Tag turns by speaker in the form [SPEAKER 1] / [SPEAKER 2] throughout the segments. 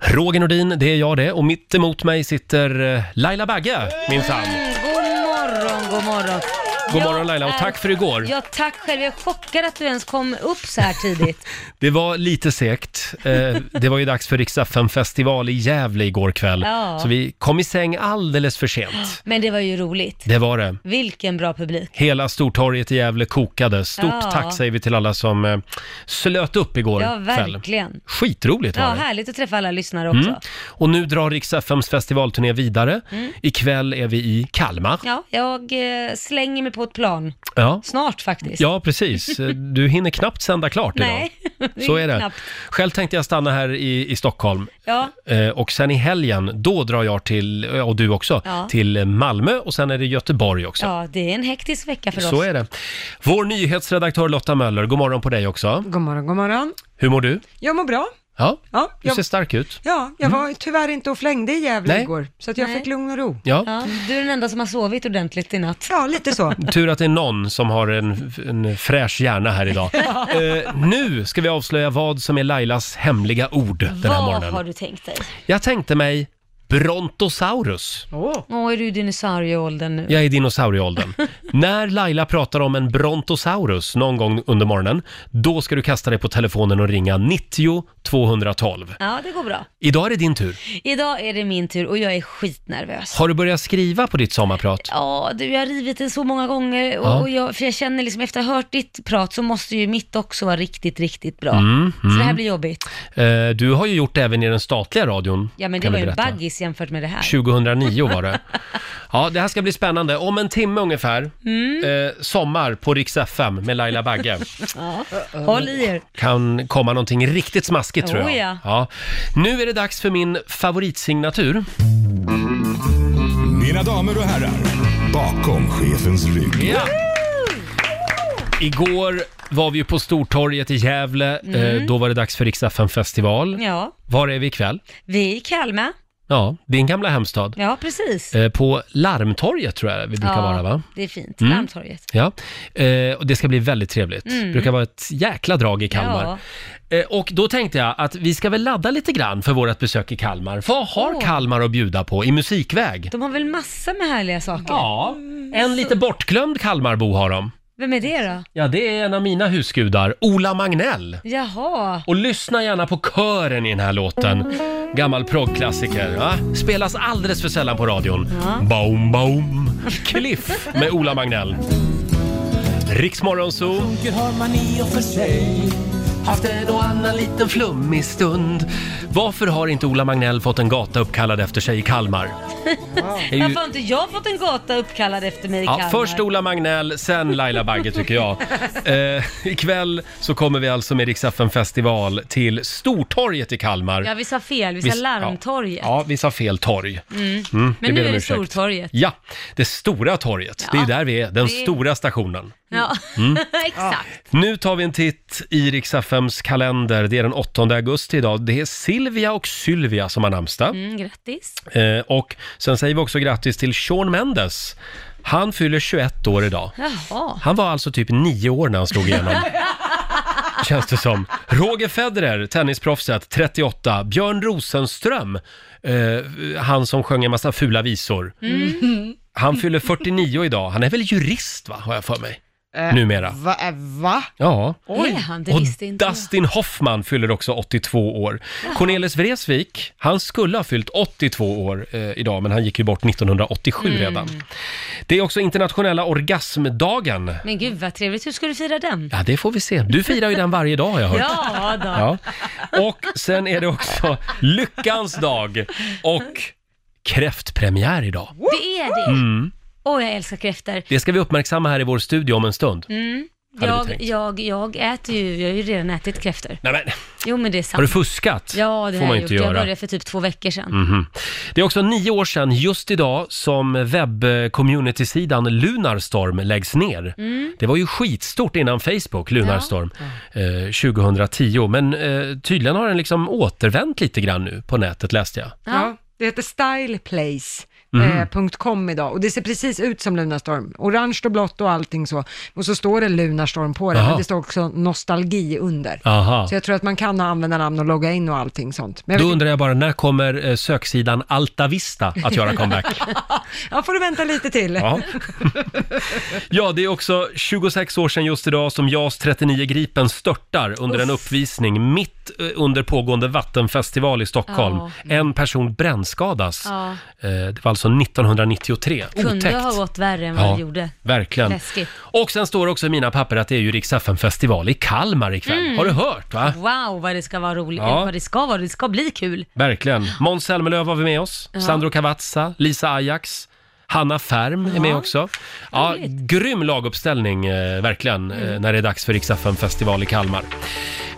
[SPEAKER 1] Roger Nordin, det är jag det. Och mitt emot mig sitter eh, Laila Bagge, minsann.
[SPEAKER 2] God morgon, god morgon.
[SPEAKER 1] God
[SPEAKER 2] Jag
[SPEAKER 1] morgon Laila och
[SPEAKER 2] är-
[SPEAKER 1] tack för igår.
[SPEAKER 2] Ja, tack själv. Jag är chockad att du ens kom upp så här tidigt.
[SPEAKER 1] Det var lite segt. Eh, Det var ju dags för riks festival i Gävle igår kväll.
[SPEAKER 2] Ja.
[SPEAKER 1] Så vi kom i säng alldeles för sent.
[SPEAKER 2] Men det var ju roligt.
[SPEAKER 1] Det var det.
[SPEAKER 2] Vilken bra publik.
[SPEAKER 1] Hela Stortorget i Gävle kokade. Stort
[SPEAKER 2] Ja.
[SPEAKER 1] tack säger vi till alla som eh, slöt upp igår
[SPEAKER 2] Ja,
[SPEAKER 1] kväll.
[SPEAKER 2] verkligen.
[SPEAKER 1] Skitroligt var
[SPEAKER 2] Ja,
[SPEAKER 1] det.
[SPEAKER 2] härligt att träffa alla lyssnare också.
[SPEAKER 1] Mm. Och nu drar riks festivalturné vidare. Ikväll är vi i Kalmar.
[SPEAKER 2] Mm. Ja, jag eh, slänger mig på ett plan.
[SPEAKER 1] Ja.
[SPEAKER 2] Snart faktiskt.
[SPEAKER 1] Ja, precis. Du hinner knappt sända klart
[SPEAKER 2] Nej, det
[SPEAKER 1] idag. Så är det.
[SPEAKER 2] knappt.
[SPEAKER 1] Själv tänkte jag stanna här i, i Stockholm.
[SPEAKER 2] Ja,
[SPEAKER 1] Eh, Och sen i helgen, då drar jag till, eh, och du också,
[SPEAKER 2] Ja.
[SPEAKER 1] till Malmö och sen är det Göteborg också.
[SPEAKER 2] ja, det är en hektisk vecka för
[SPEAKER 1] Så
[SPEAKER 2] oss.
[SPEAKER 1] är det. Vår nyhetsredaktör Lotta Möller, god morgon på dig också.
[SPEAKER 3] God morgon, god morgon.
[SPEAKER 1] Hur mår du?
[SPEAKER 3] Jag mår bra.
[SPEAKER 1] Ja,
[SPEAKER 3] Ja,
[SPEAKER 1] du ser
[SPEAKER 3] jag,
[SPEAKER 1] stark ut.
[SPEAKER 3] ja, jag var tyvärr inte och flängde i Gävle
[SPEAKER 1] Nej.
[SPEAKER 3] igår, så att jag
[SPEAKER 2] Nej.
[SPEAKER 3] fick lugn och ro.
[SPEAKER 1] Ja.
[SPEAKER 2] Ja, du är den enda som har sovit ordentligt i natt.
[SPEAKER 3] Ja, lite så.
[SPEAKER 1] Tur att det är någon som har en, en fräsch hjärna här idag. Eh, nu ska vi avslöja vad som är Lailas hemliga ord den här
[SPEAKER 2] Vad har
[SPEAKER 1] morgonen.
[SPEAKER 2] du tänkt dig?
[SPEAKER 1] Jag tänkte mig Brontosaurus.
[SPEAKER 3] Åh,
[SPEAKER 2] Åh, är du i dinosaurieåldern nu?
[SPEAKER 1] Jag är i dinosaurieåldern. När Laila pratar om en brontosaurus någon gång under morgonen, då ska du kasta dig på telefonen och ringa 90 212.
[SPEAKER 2] Ja, det går bra.
[SPEAKER 1] Idag är det din tur.
[SPEAKER 2] Idag är det min tur och jag är skitnervös.
[SPEAKER 1] Har du börjat skriva på ditt sommarprat?
[SPEAKER 2] Ja, du, jag har rivit den så många gånger och,
[SPEAKER 1] Ja.
[SPEAKER 2] och jag, för jag känner liksom efter att ha hört ditt prat så måste ju mitt också vara riktigt, riktigt bra.
[SPEAKER 1] Mm,
[SPEAKER 2] Så det här blir jobbigt.
[SPEAKER 1] Eh, du har ju gjort det även i den statliga radion.
[SPEAKER 2] Ja, men det
[SPEAKER 1] kan
[SPEAKER 2] var
[SPEAKER 1] vi
[SPEAKER 2] ju en
[SPEAKER 1] berätta.
[SPEAKER 2] baggis jämfört med det här.
[SPEAKER 1] 2009 var det. Ja, det här ska bli spännande. Om en timme ungefär,
[SPEAKER 2] Mm.
[SPEAKER 1] eh, sommar på Rix FM med Laila Bagge.
[SPEAKER 2] Håll i er.
[SPEAKER 1] Kan komma någonting riktigt smaskigt tror jag.
[SPEAKER 2] Oh, ja.
[SPEAKER 1] Ja. Nu är det dags för min favoritsignatur.
[SPEAKER 4] Mina damer och herrar, bakom chefens rygg.
[SPEAKER 1] Ja. Igår var vi ju på Stortorget i Gävle. Eh, då var det dags för Rix FM festival.
[SPEAKER 2] Mm. Ja,
[SPEAKER 1] Var är vi ikväll?
[SPEAKER 2] vi är i Kalmar.
[SPEAKER 1] Ja, din gamla hemstad.
[SPEAKER 2] Ja, precis.
[SPEAKER 1] Eh, på Larmtorget tror jag vi brukar
[SPEAKER 2] ja,
[SPEAKER 1] vara va?
[SPEAKER 2] det är fint.
[SPEAKER 1] Mm.
[SPEAKER 2] Larmtorget.
[SPEAKER 1] Ja, eh, och det ska bli väldigt trevligt.
[SPEAKER 2] Mm.
[SPEAKER 1] brukar vara ett jäkla drag i Kalmar. Eh, och då tänkte jag att vi ska väl ladda lite grann för vårt besök i Kalmar. Vad har
[SPEAKER 2] Åh.
[SPEAKER 1] Kalmar att bjuda på i musikväg?
[SPEAKER 2] De har väl massa med härliga saker?
[SPEAKER 1] Ja, en lite bortglömd Kalmarbo har de.
[SPEAKER 2] Vem är det då?
[SPEAKER 1] Ja, det är en av mina husgudar, Ola Magnell.
[SPEAKER 2] Jaha.
[SPEAKER 1] Och lyssna gärna på kören i den här låten. Gammal proggklassiker. Va? Spelas alldeles för sällan på radion. Baum, baum. Cliff med Ola Magnell. Riksmorgon Zoo. har man i och för sig haft en och annan liten flummig stund. Varför har inte Ola Magnell fått en gata uppkallad efter sig i Kalmar? Det är ju-
[SPEAKER 2] Varför har inte jag fått en gata uppkallad efter mig i
[SPEAKER 1] Ja,
[SPEAKER 2] Kalmar?
[SPEAKER 1] först Ola Magnell, sen Laila Bagge tycker jag. Eh, ikväll så kommer vi alltså med Riksaffen festival till Stortorget i Kalmar.
[SPEAKER 2] Ja, vi sa fel. Vi
[SPEAKER 1] Vi-
[SPEAKER 2] sa Larmtorget.
[SPEAKER 1] Ja, ja, vi sa fel torg.
[SPEAKER 2] Mm.
[SPEAKER 1] Mm,
[SPEAKER 2] Men
[SPEAKER 1] ber
[SPEAKER 2] nu är
[SPEAKER 1] om
[SPEAKER 2] det
[SPEAKER 1] ursäkt.
[SPEAKER 2] Stortorget.
[SPEAKER 1] Ja, det stora torget. Det är ju där vi är, den
[SPEAKER 2] det-
[SPEAKER 1] stora stationen.
[SPEAKER 2] Ja,
[SPEAKER 1] Mm.
[SPEAKER 2] exakt.
[SPEAKER 1] Nu tar vi en titt i Riksaffems kalender. Det är den 8 augusti idag. Det är Silvia och Sylvia som har namnsdag.
[SPEAKER 2] Mm, grattis.
[SPEAKER 1] Eh, och sen säger vi också grattis till Sean Mendes. Han fyller 21 år idag.
[SPEAKER 2] Jaha.
[SPEAKER 1] Han var alltså typ nio år när han slog igenom. Känns det som. Roger Federer, tennisproffset, 38. Björn Rosenström, eh, han som sjöng en massa fula visor.
[SPEAKER 2] Mm.
[SPEAKER 1] Han fyller 49 idag. Han är väl jurist, va? Har jag för mig.
[SPEAKER 3] Eh,
[SPEAKER 1] Numera.
[SPEAKER 3] va? eh, va?
[SPEAKER 1] Ja.
[SPEAKER 2] Är han? Det
[SPEAKER 1] Och
[SPEAKER 2] visste inte jag.
[SPEAKER 1] Dustin Hoffman fyller också 82 år. Cornelis Vreeswijk, han skulle ha fyllt 82 år eh, idag, men han gick ju bort 1987
[SPEAKER 2] Mm.
[SPEAKER 1] redan. Det är också internationella orgasmdagen.
[SPEAKER 2] Men gud vad trevligt. Hur ska du fira den?
[SPEAKER 1] Ja, det får vi se. Du firar ju den varje dag har jag hört.
[SPEAKER 2] Ja då.
[SPEAKER 1] Ja. Och sen är det också lyckans dag och kräftpremiär idag.
[SPEAKER 2] Det är det.
[SPEAKER 1] Mm.
[SPEAKER 2] Åh, jag älskar kräftor.
[SPEAKER 1] Det ska vi uppmärksamma här i vår studio om en stund.
[SPEAKER 2] Mm.
[SPEAKER 1] Hade vi
[SPEAKER 2] Jag,
[SPEAKER 1] tänkt.
[SPEAKER 2] jag, jag äter ju, jag har ju redan ätit kräftor.
[SPEAKER 1] Nej, men,
[SPEAKER 2] Jo men det är
[SPEAKER 1] har du
[SPEAKER 2] sant.
[SPEAKER 1] fuskat?
[SPEAKER 2] Ja, det
[SPEAKER 1] får
[SPEAKER 2] har
[SPEAKER 1] man
[SPEAKER 2] jag
[SPEAKER 1] ju inte
[SPEAKER 2] gjort. Jag
[SPEAKER 1] göra.
[SPEAKER 2] började för typ två veckor sedan.
[SPEAKER 1] Mhm. Det är också nio år sedan just idag som webb-community-sidan Lunarstorm läggs ner.
[SPEAKER 2] Mm.
[SPEAKER 1] Det var ju skitstort innan Facebook, Lunarstorm, eh, 2010. Men eh, tydligen har den liksom återvänt lite grann nu på nätet läste jag.
[SPEAKER 2] Ja.
[SPEAKER 3] Ja. Det heter Style Place.
[SPEAKER 1] Mhm.
[SPEAKER 3] eh, .com idag och det ser precis ut som Lunarstorm. Orange och blått och allting så. Och så står det Lunarstorm på det,
[SPEAKER 1] Jaha.
[SPEAKER 3] men det står också nostalgi under.
[SPEAKER 1] Aha.
[SPEAKER 3] Så jag tror att man kan ha användarnamn och logga in och allting sånt. Men jag
[SPEAKER 1] Då
[SPEAKER 3] vet-
[SPEAKER 1] undrar jag bara, när kommer eh, söksidan Altavista att göra comeback?
[SPEAKER 3] ja, får du vänta lite till.
[SPEAKER 1] Ja. ja, det är också 26 år sedan just idag som JAS 39 Gripen störtar under en uppvisning mitt eh, under pågående vattenfestival i Stockholm.
[SPEAKER 2] Ja. Mm.
[SPEAKER 1] En person brännskadas.
[SPEAKER 2] Ja.
[SPEAKER 1] Eh, Det var alltså 1993.
[SPEAKER 2] Kunde
[SPEAKER 1] Otäckt.
[SPEAKER 2] ha gått värre än vad det gjorde.
[SPEAKER 1] Verkligen.
[SPEAKER 2] Läskigt.
[SPEAKER 1] Och sen står det också i mina papper att det är ju Rix festival i Kalmar ikväll.
[SPEAKER 2] Mm.
[SPEAKER 1] Har du hört va?
[SPEAKER 2] Wow, vad det ska vara roligt.
[SPEAKER 1] Ja.
[SPEAKER 2] Vad det ska vara, det ska bli kul.
[SPEAKER 1] Verkligen. Måns Zelmerlöw var med oss, Sandro Cavazza, Lisa Ajax, Hanna Färm är med också. Ja,
[SPEAKER 2] Roligt.
[SPEAKER 1] grym laguppställning eh, verkligen eh, när det är dags för Rix festival i Kalmar.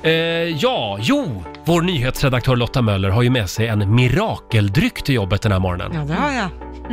[SPEAKER 1] Eh, ja, jo, vår nyhetsredaktör Lotta Möller har ju med sig en mirakeldryck till jobbet den här morgonen.
[SPEAKER 3] Ja, det har jag.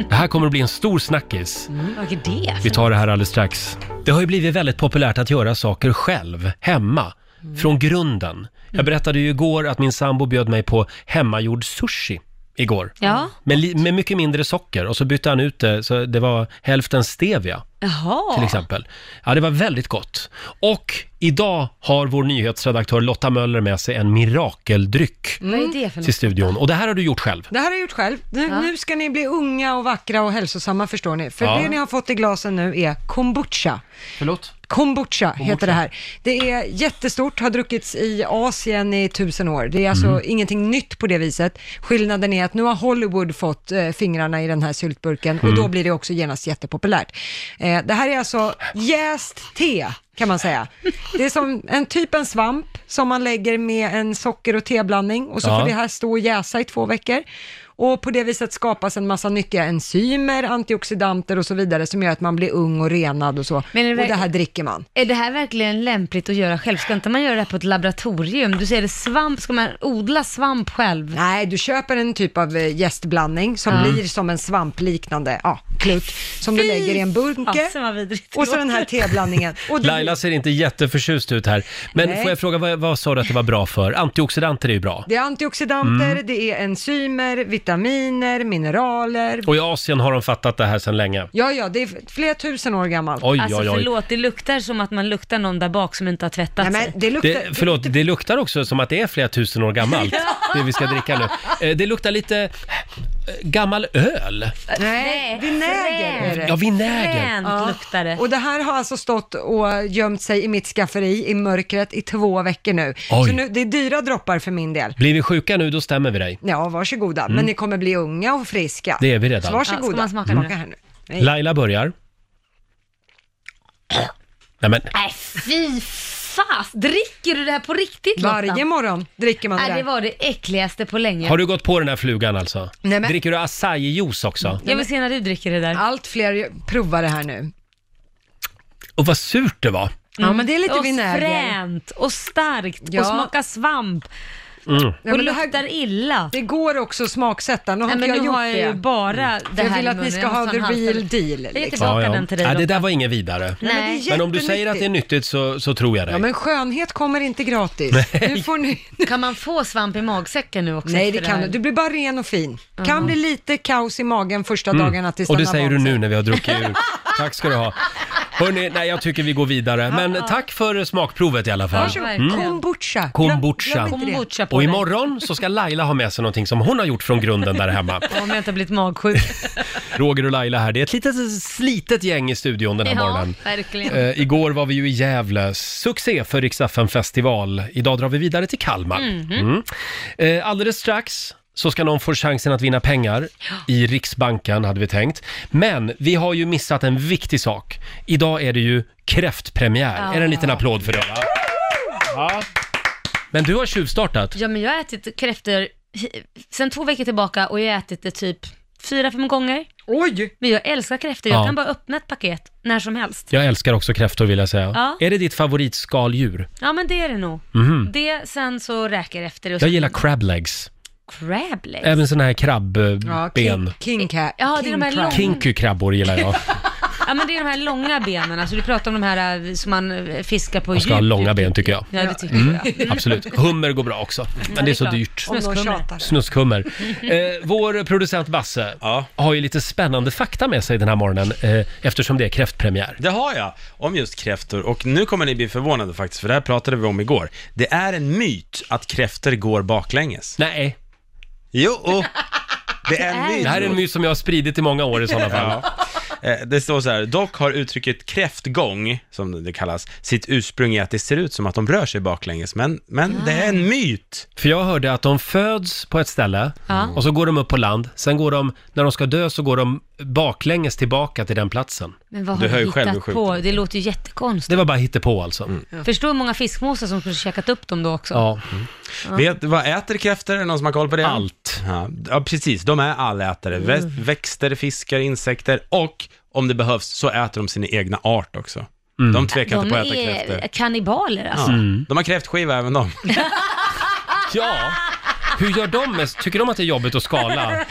[SPEAKER 1] Det här kommer att bli en stor snackis.
[SPEAKER 2] Vad är det?
[SPEAKER 1] Vi tar det här alldeles strax. Det har ju blivit väldigt populärt att göra saker själv, hemma, från grunden. Jag berättade ju igår att min sambo bjöd mig på hemmagjord sushi igår.
[SPEAKER 2] Ja,
[SPEAKER 1] Med, li- med mycket mindre socker och så bytte han ut det så det var hälften stevia till
[SPEAKER 2] jaha.
[SPEAKER 1] exempel. Ja, det var väldigt gott. Och idag har vår nyhetsredaktör Lotta Möller med sig en mirakeldryck
[SPEAKER 2] Mm. Vad är det för
[SPEAKER 1] till
[SPEAKER 2] något?
[SPEAKER 1] studion. Och det här har du gjort själv.
[SPEAKER 3] Det här har jag gjort själv. Nu, nu ska ni bli unga och vackra och hälsosamma förstår ni. För
[SPEAKER 1] Ja.
[SPEAKER 3] det ni har fått i glasen nu är kombucha.
[SPEAKER 1] Förlåt?
[SPEAKER 3] Kombucha heter det här. Det är jättestort, har druckits i Asien i tusen år. Det är alltså ingenting nytt på det viset. Skillnaden är att nu har Hollywood fått eh, fingrarna i den här syltburken och då blir det också genast jättepopulärt. Eh, det här är alltså jäst te kan man säga. Det är som en typ en svamp som man lägger med en socker och teblandning och så
[SPEAKER 1] Ja.
[SPEAKER 3] får det här stå och jäsa i två veckor. Och på det viset skapas en massa nyttiga enzymer, antioxidanter och så vidare som gör att man blir ung och renad och så.
[SPEAKER 2] Men är det
[SPEAKER 3] och det
[SPEAKER 2] verkligen-
[SPEAKER 3] här dricker man.
[SPEAKER 2] Är det här verkligen lämpligt att göra själv? Ska inte man göra det här på ett laboratorium? Du säger det svamp, ska man odla svamp själv?
[SPEAKER 3] Nej, du köper en typ av eh, jästblandning som blir som en svampliknande ja, klutt som du lägger i en bunke
[SPEAKER 2] Fasen vad vidrigt det
[SPEAKER 3] och så den här teblandningen. Och det-
[SPEAKER 1] Laila ser inte jätteförtjust ut här. Men
[SPEAKER 3] Nej.
[SPEAKER 1] får jag fråga, vad, vad sa du att det var bra för? Antioxidanter är ju bra.
[SPEAKER 3] Det är antioxidanter,
[SPEAKER 1] Mm.
[SPEAKER 3] det är enzymer, vitaminer, mineraler.
[SPEAKER 1] Och i Asien har de fattat det här sedan länge.
[SPEAKER 3] Ja, ja, det är flera tusen år gammalt.
[SPEAKER 1] Oj,
[SPEAKER 2] Alltså
[SPEAKER 1] oj, oj.
[SPEAKER 2] förlåt, det luktar som att man luktar någon där bak som inte har tvättat
[SPEAKER 3] Nej,
[SPEAKER 2] sig.
[SPEAKER 3] men det luktar...
[SPEAKER 1] Det, förlåt, det luktar också som att det är flera tusen år gammalt, det vi ska dricka nu. Eh, Det luktar lite eh, gammal öl.
[SPEAKER 3] Nej, vinäger är det.
[SPEAKER 1] Ja, vinäger.
[SPEAKER 2] Fränt luktar det.
[SPEAKER 3] Och det här har alltså stått och gömt sig i mitt skafferi i mörkret i två veckor nu.
[SPEAKER 1] Oj.
[SPEAKER 3] Så nu, det är dyra droppar för min del.
[SPEAKER 1] Blir vi sjuka nu, då stämmer vi dig.
[SPEAKER 3] Ja, varsågoda. Men ni kommer bli unga och friska.
[SPEAKER 1] Mm. Det är Mm. vi redan.
[SPEAKER 3] Så
[SPEAKER 2] Ja, ska
[SPEAKER 3] varsågoda.
[SPEAKER 2] man smaka nu?
[SPEAKER 3] här nu. Nej.
[SPEAKER 1] Laila börjar. Nej, men,
[SPEAKER 2] Nej, fy fas! Dricker du det här på riktigt Lotta?
[SPEAKER 3] Varje morgon dricker man det,
[SPEAKER 2] Nej, Äh, det
[SPEAKER 3] där.
[SPEAKER 2] var det äckligaste på länge.
[SPEAKER 1] har du gått på den här flugan alltså?
[SPEAKER 3] Nej, men-
[SPEAKER 1] Dricker du acai-juice också?
[SPEAKER 2] Jag vill se när du dricker det där.
[SPEAKER 3] Allt fler provar det här nu.
[SPEAKER 1] Och vad surt det var.
[SPEAKER 3] Ja, men det är lite
[SPEAKER 2] Mm. och
[SPEAKER 3] vinäger.
[SPEAKER 2] fränt och starkt
[SPEAKER 3] Ja.
[SPEAKER 2] och smakar svamp
[SPEAKER 3] Ja,
[SPEAKER 2] och
[SPEAKER 3] men det,
[SPEAKER 2] luktar
[SPEAKER 3] här,
[SPEAKER 2] illa.
[SPEAKER 3] det går också att smaksätta. Nu har
[SPEAKER 2] Nej,
[SPEAKER 3] inte
[SPEAKER 2] men
[SPEAKER 3] jag
[SPEAKER 2] nu
[SPEAKER 3] gjort
[SPEAKER 2] har
[SPEAKER 3] det. Mm.
[SPEAKER 2] jag ju bara det
[SPEAKER 3] jag
[SPEAKER 2] här
[SPEAKER 3] vill
[SPEAKER 2] i
[SPEAKER 3] att ni
[SPEAKER 2] munnen.
[SPEAKER 3] ska
[SPEAKER 2] Jag
[SPEAKER 3] ha
[SPEAKER 2] måste
[SPEAKER 3] the
[SPEAKER 2] en halsduk.
[SPEAKER 3] real deal.
[SPEAKER 2] Jag ger
[SPEAKER 3] Liksom.
[SPEAKER 2] tillbaka den till dig
[SPEAKER 1] Ja, det
[SPEAKER 2] Lotta.
[SPEAKER 1] där var inget vidare.
[SPEAKER 3] Nej,
[SPEAKER 2] Nej.
[SPEAKER 3] det är
[SPEAKER 1] Men om du säger att det är
[SPEAKER 3] jättenyttigt.
[SPEAKER 1] nyttigt så, så tror jag dig.
[SPEAKER 3] Ja, men skönhet kommer inte gratis. Nu får ni...
[SPEAKER 2] Kan man få svamp i magsäcken nu också?
[SPEAKER 3] Nej,
[SPEAKER 2] efter
[SPEAKER 3] det kan
[SPEAKER 2] här?
[SPEAKER 3] du. Du blir bara ren och fin. Kan bli lite kaos i magen första dagarna tills
[SPEAKER 1] Mm. Och
[SPEAKER 3] den
[SPEAKER 1] det säger
[SPEAKER 3] har
[SPEAKER 1] du
[SPEAKER 3] vant sig.
[SPEAKER 1] nu när vi har druckit ur. Tack ska du ha. Hörrni, nej jag tycker vi går vidare. Men tack för smakprovet i alla fall.
[SPEAKER 2] Varsågod.
[SPEAKER 3] Varsågod.
[SPEAKER 2] Mm.
[SPEAKER 3] Kombucha.
[SPEAKER 1] Kombucha.
[SPEAKER 3] Glöm, glöm inte det.
[SPEAKER 2] Kombucha på
[SPEAKER 1] Och
[SPEAKER 2] dig.
[SPEAKER 1] imorgon så ska Laila ha med sig någonting som hon har gjort från grunden där hemma.
[SPEAKER 2] Om jag inte har blivit magsjuk.
[SPEAKER 1] Roger och Laila här. Det är ett litet slitet gäng i studion den här
[SPEAKER 2] ja,
[SPEAKER 1] morgonen.
[SPEAKER 2] verkligen.
[SPEAKER 1] Eh, igår var vi ju i Gävle. Succé för Rix festival Idag drar vi vidare till Kalmar. Mm. Eh, alldeles strax så ska någon få chansen att vinna pengar i Riksbanken, hade vi tänkt. Men vi har ju missat en viktig sak. Idag är det ju kräftpremiär. Är det en liten applåd för det? Va? Ja. Men du har tjuvstartat.
[SPEAKER 2] Ja, men jag har ätit kräftor hi- sen två veckor tillbaka och jag har ätit det typ fyra, fem gånger.
[SPEAKER 3] Oj!
[SPEAKER 2] Men jag älskar kräftor. Jag
[SPEAKER 1] Ja.
[SPEAKER 2] kan bara öppna ett paket när som helst.
[SPEAKER 1] Jag älskar också kräftor vill jag säga.
[SPEAKER 2] Ja.
[SPEAKER 1] Är det ditt favoritskaldjur?
[SPEAKER 2] Ja, men det är det nog. Det, sen så räker det efter det. och så-
[SPEAKER 1] Mhm. Jag gillar crab legs.
[SPEAKER 2] crab legs.
[SPEAKER 1] Även sådana här krabbben.
[SPEAKER 3] Ja, king, king, cat,
[SPEAKER 2] Ja, det är de här
[SPEAKER 3] crab.
[SPEAKER 2] långa-
[SPEAKER 1] Kinky krabbor gillar jag.
[SPEAKER 2] Ja men det är de här långa benen, alltså du pratar om de här eh, som man eh, fiskar på
[SPEAKER 1] Man ska ha
[SPEAKER 2] djup.
[SPEAKER 1] långa Mm. ben tycker jag.
[SPEAKER 2] Ja det tycker jag.
[SPEAKER 1] Absolut. Hummer går bra också, men det är så
[SPEAKER 2] klart.
[SPEAKER 1] dyrt.
[SPEAKER 3] Om någon
[SPEAKER 2] Snuskhummar.
[SPEAKER 3] tjatar.
[SPEAKER 1] Snuskkummer. Eh, vår producent Basse
[SPEAKER 5] Ja.
[SPEAKER 1] har ju lite spännande fakta med sig den här morgonen eh, eftersom det är kräftpremiär.
[SPEAKER 5] Det har jag, om just kräftor. Och nu kommer ni bli förvånade faktiskt, för det här pratade vi om igår. Det är en myt att kräftor går baklänges.
[SPEAKER 1] Nej,
[SPEAKER 5] Jo! och- Det är en
[SPEAKER 2] Det är-
[SPEAKER 5] myt.
[SPEAKER 1] det här är en myt som jag har spridit i många år i sådana fall.
[SPEAKER 5] Ja. Eh, Det står så här, dock har uttrycket kräftgång, som det kallas, sitt ursprung i att det ser ut som att de rör sig baklänges, men, men det är en myt.
[SPEAKER 1] För jag hörde att de föds på ett ställe
[SPEAKER 2] Ja.
[SPEAKER 1] och så går de upp på land. Sen går de, när de ska dö så går de baklänges tillbaka till den platsen.
[SPEAKER 2] Men vad
[SPEAKER 5] Du
[SPEAKER 2] har
[SPEAKER 5] hör
[SPEAKER 2] du
[SPEAKER 5] ju själv hur
[SPEAKER 2] hittat
[SPEAKER 5] sjukt
[SPEAKER 2] på?
[SPEAKER 5] det är.
[SPEAKER 2] Det låter ju jättekonstigt.
[SPEAKER 1] Det var bara hittepå alltså.
[SPEAKER 2] Förstå hur många fiskmåsar som skulle käkat upp dem då också.
[SPEAKER 1] Ja,
[SPEAKER 5] Vet du vad äter kräftor? Är det någon som har koll på det?
[SPEAKER 1] allt.
[SPEAKER 5] Ja, ja precis. De är allätare. Vä- Växter, fiskar, insekter och om det behövs så äter de sin egna art också.
[SPEAKER 1] Mm.
[SPEAKER 5] De tvekar
[SPEAKER 2] De
[SPEAKER 5] inte på att äta
[SPEAKER 2] är
[SPEAKER 5] kräftor.
[SPEAKER 2] kannibaler alltså.
[SPEAKER 5] Ja. De har kräftskiva även de.
[SPEAKER 1] Ja, hur gör de med, tycker de att det är jobbigt att skala?